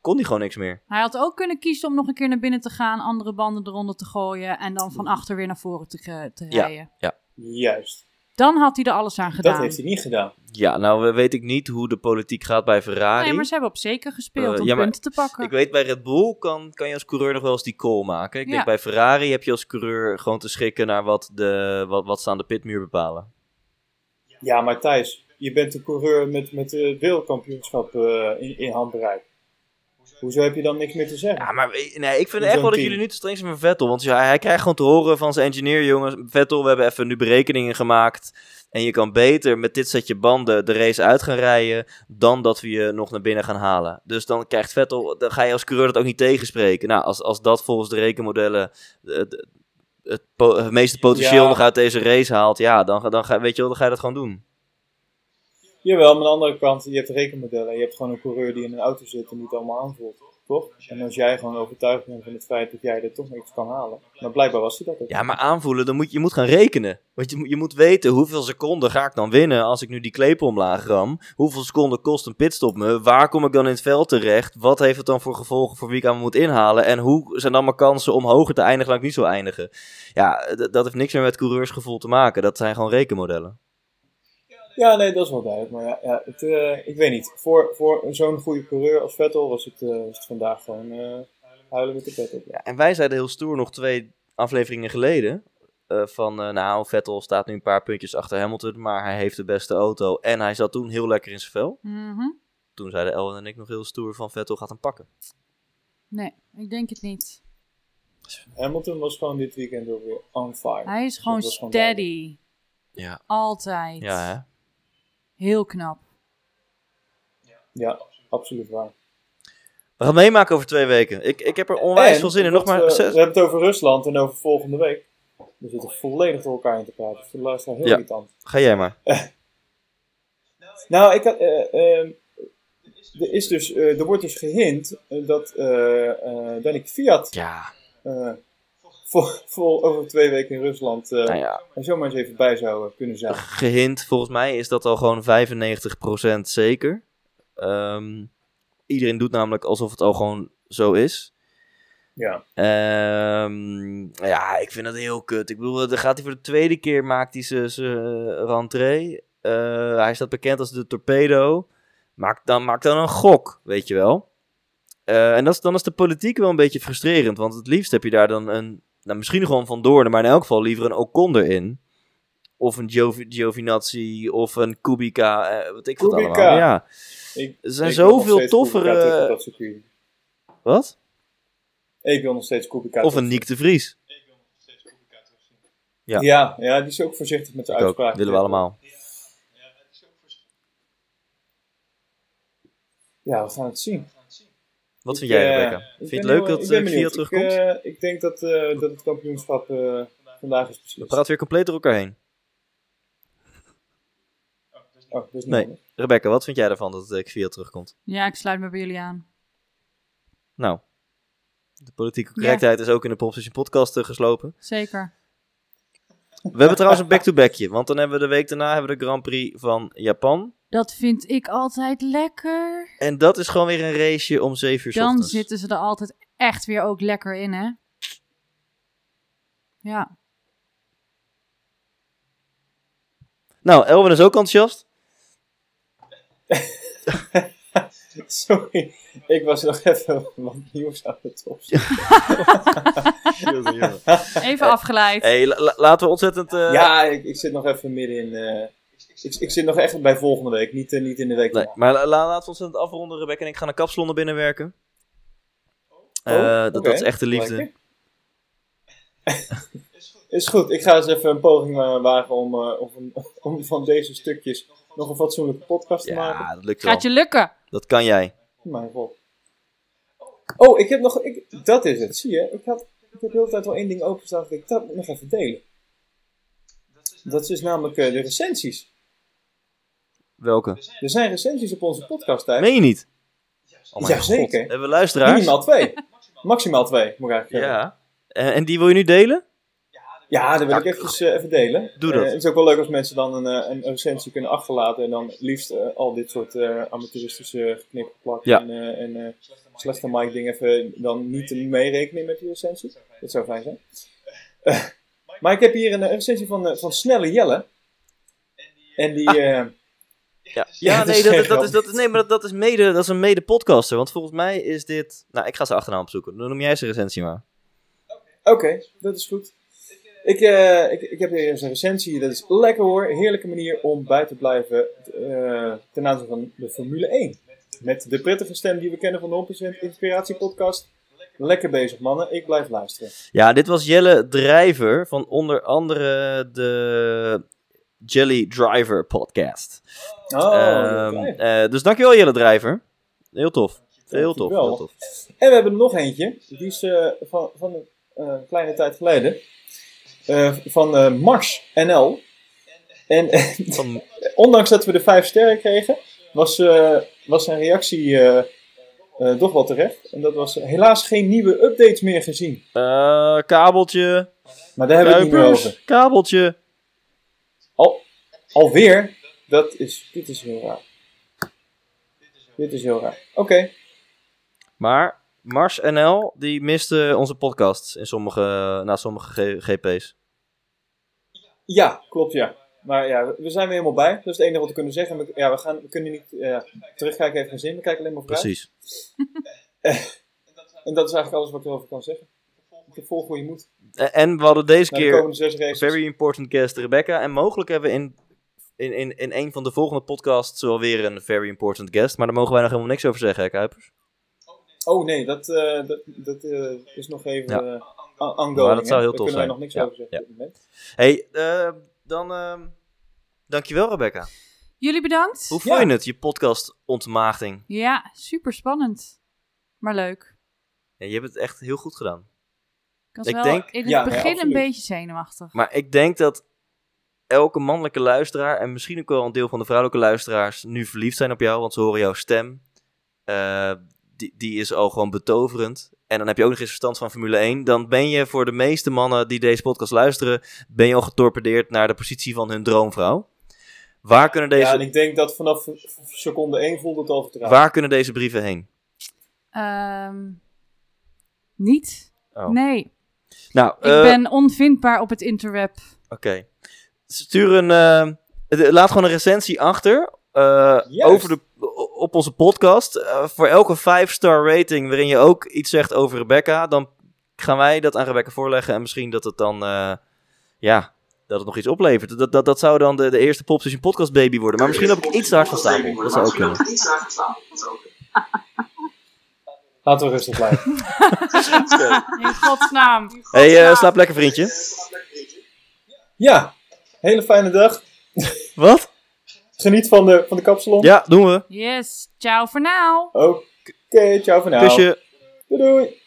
kon hij gewoon niks meer.
Hij had ook kunnen kiezen om nog een keer naar binnen te gaan, andere banden eronder te gooien en dan
Mhm.
van achter weer naar voren te, ge- te
Ja.
rijden.
Juist.
Dan had hij er alles aan gedaan.
Dat heeft hij niet gedaan.
Ja, nou weet ik niet hoe de politiek gaat bij Ferrari.
Nee, maar ze hebben op zeker gespeeld
Eh,
om
ja, maar
punten te pakken.
Ik weet, bij Red Bull kan, kan je als coureur nog wel eens die call maken. Ik
Ja.
denk, bij Ferrari heb je als coureur gewoon te schikken naar wat, de, wat, wat ze aan de pitmuur bepalen.
Ja, maar Thijs, je bent de coureur met, met eh wereldkampioenschap eh, in, in handbereik. Hoezo heb je dan niks meer te zeggen?
Ja, maar we- nee, ik vind
Hoezo
echt wel dat
tien?
jullie niet te streng zijn met Vettel. Want ja, hij krijgt gewoon te horen van zijn engineer, jongens. Vettel, we hebben even nu berekeningen gemaakt. En je kan beter met dit setje banden de race uit gaan rijden. dan dat we je nog naar binnen gaan halen. Dus dan krijgt Vettel, dan ga je als coureur dat ook niet tegenspreken. Nou, als, als dat volgens de rekenmodellen. eh, het- het, po- het meeste potentieel
Ja.
nog uit deze race haalt, ja, dan, ga- dan, ga, weet je wel, dan ga je dat gewoon doen.
Jawel, maar aan de andere kant, je hebt rekenmodellen. Je hebt gewoon een coureur die in een auto zit en die het allemaal aanvoelt. Toch? En als jij gewoon overtuigd bent van het feit dat jij er toch niks kan halen. Maar blijkbaar was hij dat ook.
Ja, maar aanvoelen, dan moet, je moet gaan rekenen. Want je, moet- je moet weten hoeveel seconden ga ik dan winnen als ik nu die klepel omlaag ram. Hoeveel seconden kost een pitstop me? Waar kom ik dan in het veld terecht? Wat heeft het dan voor gevolgen voor wie ik aan moet inhalen? En hoe zijn dan mijn kansen om hoger te eindigen dan ik niet zou eindigen? Ja, d- dat heeft niks meer met coureursgevoel te maken. Dat zijn gewoon rekenmodellen.
Ja, nee, dat is wel duidelijk. Maar ja, ja het, eh, ik weet niet. Voor, voor zo'n goede coureur als Vettel was het, eh, was het vandaag gewoon eh, huilen met de pet op.
Ja, en wij zeiden heel stoer nog twee afleveringen geleden. eh, van eh, nou, Vettel staat nu een paar puntjes achter Hamilton, maar hij heeft de beste auto. En hij zat toen heel lekker in zijn vel.
Mhm.
toen zeiden Elwin en ik nog heel stoer van Vettel gaat hem pakken.
Nee, ik denk het niet.
Hamilton was gewoon dit weekend ook weer on fire.
Hij is gewoon
Dat was gewoon
steady.
Ja.
Altijd.
Ja, hè?
Heel knap.
Ja, absoluut waar.
We gaan het meemaken over twee weken. Ik, ik heb er onwijs
En,
veel zin in. Nog
want,
maar
eh,
zes...
We hebben het over Rusland en over volgende week. We zitten volledig door elkaar in te praten. Voor de luisteraar heel
Ja.
irritant.
Ga jij maar.
Nou, ik had, eh, ehm, er, is dus, eh, er wordt dus gehint eh, dat eh eh Danny Fiat
Ja.
eh, vol, vol over twee weken in Rusland eh,
Nou ja,
er zomaar eens even bij zou eh, kunnen zijn.
gehint. Volgens mij is dat al gewoon 95% zeker. Ehm, iedereen doet namelijk alsof het al gewoon zo is.
Ja.
Ehm, ja, ik vind dat heel kut. Ik bedoel, dan gaat hij voor de tweede keer maakt hij zijn rentree. Eh, hij staat bekend als de torpedo. Maak dan, maak dan een gok, weet je wel. Eh, en dat is, dan is de politiek wel een beetje frustrerend. Want het liefst heb je daar dan een... Nou, misschien gewoon Van Doorn, maar in elk geval liever een Ocon erin. Of een Giovi- Giovinazzi, of een Kubica, eh, wat ik vond
Kubica.
allemaal. Ja,
Ik,
er zijn
ik wil nog
zoveel
steeds Kubica terug
toffere...
op dat circuit.
Wat?
Ik wil nog steeds Kubica.
Of
terug.
een Niek de Vries.
Ja.
Ja.
Ja, die is ook voorzichtig met de
Ik ook,
uitspraak.
willen we allemaal.
Ja, we gaan het zien.
Wat vind
Ik,
jij,
eh,
Rebecca?
ik
Vind je
ben
het
heel-
leuk dat
ik ben
eh, Fiat
benieuwd.
terugkomt?
Ik, eh, ik denk dat, eh, dat het kampioenschap eh, vandaag is
We
beslist.
praten weer compleet door elkaar heen.
Oh, dat is niet
Nee.
handig.
Rebecca, wat vind jij ervan dat eh, Fiat terugkomt?
Ja, ik sluit me bij jullie aan.
Nou, de politieke
Ja.
correctheid is ook in de Proposition podcast eh, geslopen.
Zeker.
We hebben trouwens een back-to-backje, want dan hebben we de week daarna hebben we de Grand Prix van Japan.
Dat vind ik altijd lekker.
En dat is gewoon weer een raceje om 7 uur 's
Dan
ochtends.
zitten ze er altijd echt weer ook lekker in, hè? Ja.
Nou, Elwin is ook enthousiast.
Sorry, ik was nog even wat nieuws aan het opzoeken.
Even afgeleid.
hey, la- la- laten we ontzettend... eh,
ja, ik, ik zit nog even midden in. eh, ik, ik zit nog echt bij volgende week, niet, eh, niet in de week.
Nee,
daarna.
maar la- la- laten we ontzettend afronden. Rebecca en ik gaan een kapsalon naar binnen werken. Eh,
Oh,
dat,
oké.
dat is echt de liefde.
Lekker. Is goed, ik ga eens even een poging eh, wagen om, eh, om, een- om van deze stukjes nog een fatsoenlijke podcast te maken.
Ja, dat lukt wel.
Gaat je lukken.
Dat kan jij.
Mijn god. Oh, ik heb nog. Ik, dat is het, zie je. Ik, had, ik heb de hele tijd wel één ding openstaan. dat Ik dat moet nog even delen. Dat is dus namelijk eh, de recensies.
Welke?
Er zijn recensies op onze podcast, hè?
Meen je niet? Oh mijn god.
Jazeker.
Hebben we luisteraars?
Minimaal twee. Maximaal twee, moet ik eigenlijk zeggen.
Ja. En, en die wil je nu delen?
Ja, dat wil ik
Ja,
eventjes, eh, even delen.
Doe dat.
Eh, het is ook wel leuk als mensen dan een, eh, een recensie kunnen achterlaten. En dan liefst eh, al dit soort eh, amateuristische geknippen plakken.
Ja.
En, eh, en eh, slechte mic dingen even dan niet meerekenen met die recensie. Dat zou fijn zijn. Eh, maar ik heb hier een eh, recensie van, eh, van Snelle Jelle. En die...
Ah.
eh,
Ja,
Ja,
ja
dat
nee,
is
dat,
geen
dat, is,
grap.
dat, is- nee, maar dat, dat is mede, dat is een mede-podcaster. Want volgens mij is dit... Nou, ik ga zijn achternaam opzoeken. Dan noem jij zijn recensie maar.
Oké, dat is goed. Ik, eh, ik, ik heb hier eens een recensie. Dat is lekker hoor. Heerlijke manier om bij te blijven eh, ten aanzien van de Formule 1. Met de prettige stem die we kennen van de 100% Inspiratie Podcast. Lekker bezig, mannen. Ik blijf luisteren.
Ja, dit was Jelle Drijver van onder andere de Jelly Driver podcast.
Oh,
Ehm,
oké.
eh, dus dankjewel Jelle Drijver. Heel tof. Heel tof,
Dankjewel.
heel tof.
En we hebben er nog eentje. Die is eh, van, van een eh, kleine tijd geleden. Eh, van eh, Mars NL. En
Van-
ondanks dat we de vijf sterren kregen, was, eh, was zijn reactie eh, eh, toch wel terecht. En dat was eh, helaas geen nieuwe updates meer gezien.
eh, kabeltje.
Maar daar hebben we het niet meer over.
Kuipers, kabeltje.
Al, alweer? Dat is, dit is heel raar. Dit is heel raar. Oké.
Maar Mars NL, die miste onze podcast in sommige, na sommige G- GP's.
Ja, klopt ja. Maar ja, we- we zijn weer helemaal bij. Dat is het enige wat we kunnen zeggen. We, ja, we, gaan, we kunnen niet eh, terugkijken, even geen zin. We kijken alleen maar vooruit.
Precies.
En dat is eigenlijk alles wat ik erover kan zeggen. Ik volg hoe je moet.
En, E, en we hadden deze
Naar de
keer
komende zes races.
very important guest Rebecca. En mogelijk hebben we in, in, in, in een van de volgende podcasts wel weer een very important guest. Maar daar mogen wij nog helemaal niks over zeggen, hè, Kuipers.
Oh nee, dat, eh, dat, dat eh, is nog even
Ja.
eh, on- ongoing.
Maar dat zou
hè.
heel tof
Daar kunnen wij
zijn.
nog niks
Ja,
over zeggen op dit moment.
hey, eh, dan eh, dankjewel Rebecca.
Jullie bedankt.
Hoe vond je
Ja.
het, je podcast ontmaagding?
Ja, super spannend. Maar leuk.
Ja, je hebt het echt heel goed gedaan.
Ik was
Ik
wel
denk-
in het
Ja, nee,
begin een
absoluut.
beetje zenuwachtig.
Maar ik denk dat elke mannelijke luisteraar en misschien ook wel een deel van de vrouwelijke luisteraars nu verliefd zijn op jou, want ze horen jouw stem. Eh, die, die is al gewoon betoverend. En dan heb je ook nog eens verstand van Formule 1. Dan ben je voor de meeste mannen die deze podcast luisteren, ben je al getorpedeerd naar de positie van hun droomvrouw. Waar kunnen deze,
Ja, en ik denk dat vanaf v- v- seconde 1 voelde het al vertrouwd.
waar kunnen deze brieven heen?
Ehm, niet.
Oh.
Nee.
Nou,
Ik
eh,
ben onvindbaar op het interweb.
Oké. Stuur een. eh, de- laat gewoon een recensie achter. eh,
Juist.
over de, o- op onze podcast. Eh, voor elke 5-star rating waarin je ook iets zegt over Rebecca. Dan gaan wij dat aan Rebecca voorleggen. En misschien dat het dan. eh, ja, dat het nog iets oplevert. Dat, dat, dat zou dan de, de eerste Pop Station Podcast Baby worden. Maar misschien loop ik iets te hard van stapel. Dat zou ook kunnen.
Laten we rustig blijven.
In godsnaam.
hey, eh, slaap lekker, vriendje.
ja, hele fijne dag.
Wat?
Geniet van de, van de kapsalon.
Ja, doen we.
Yes. Ciao voor now.
Oké, ciao voor nu.
Kusje.
Doei doei.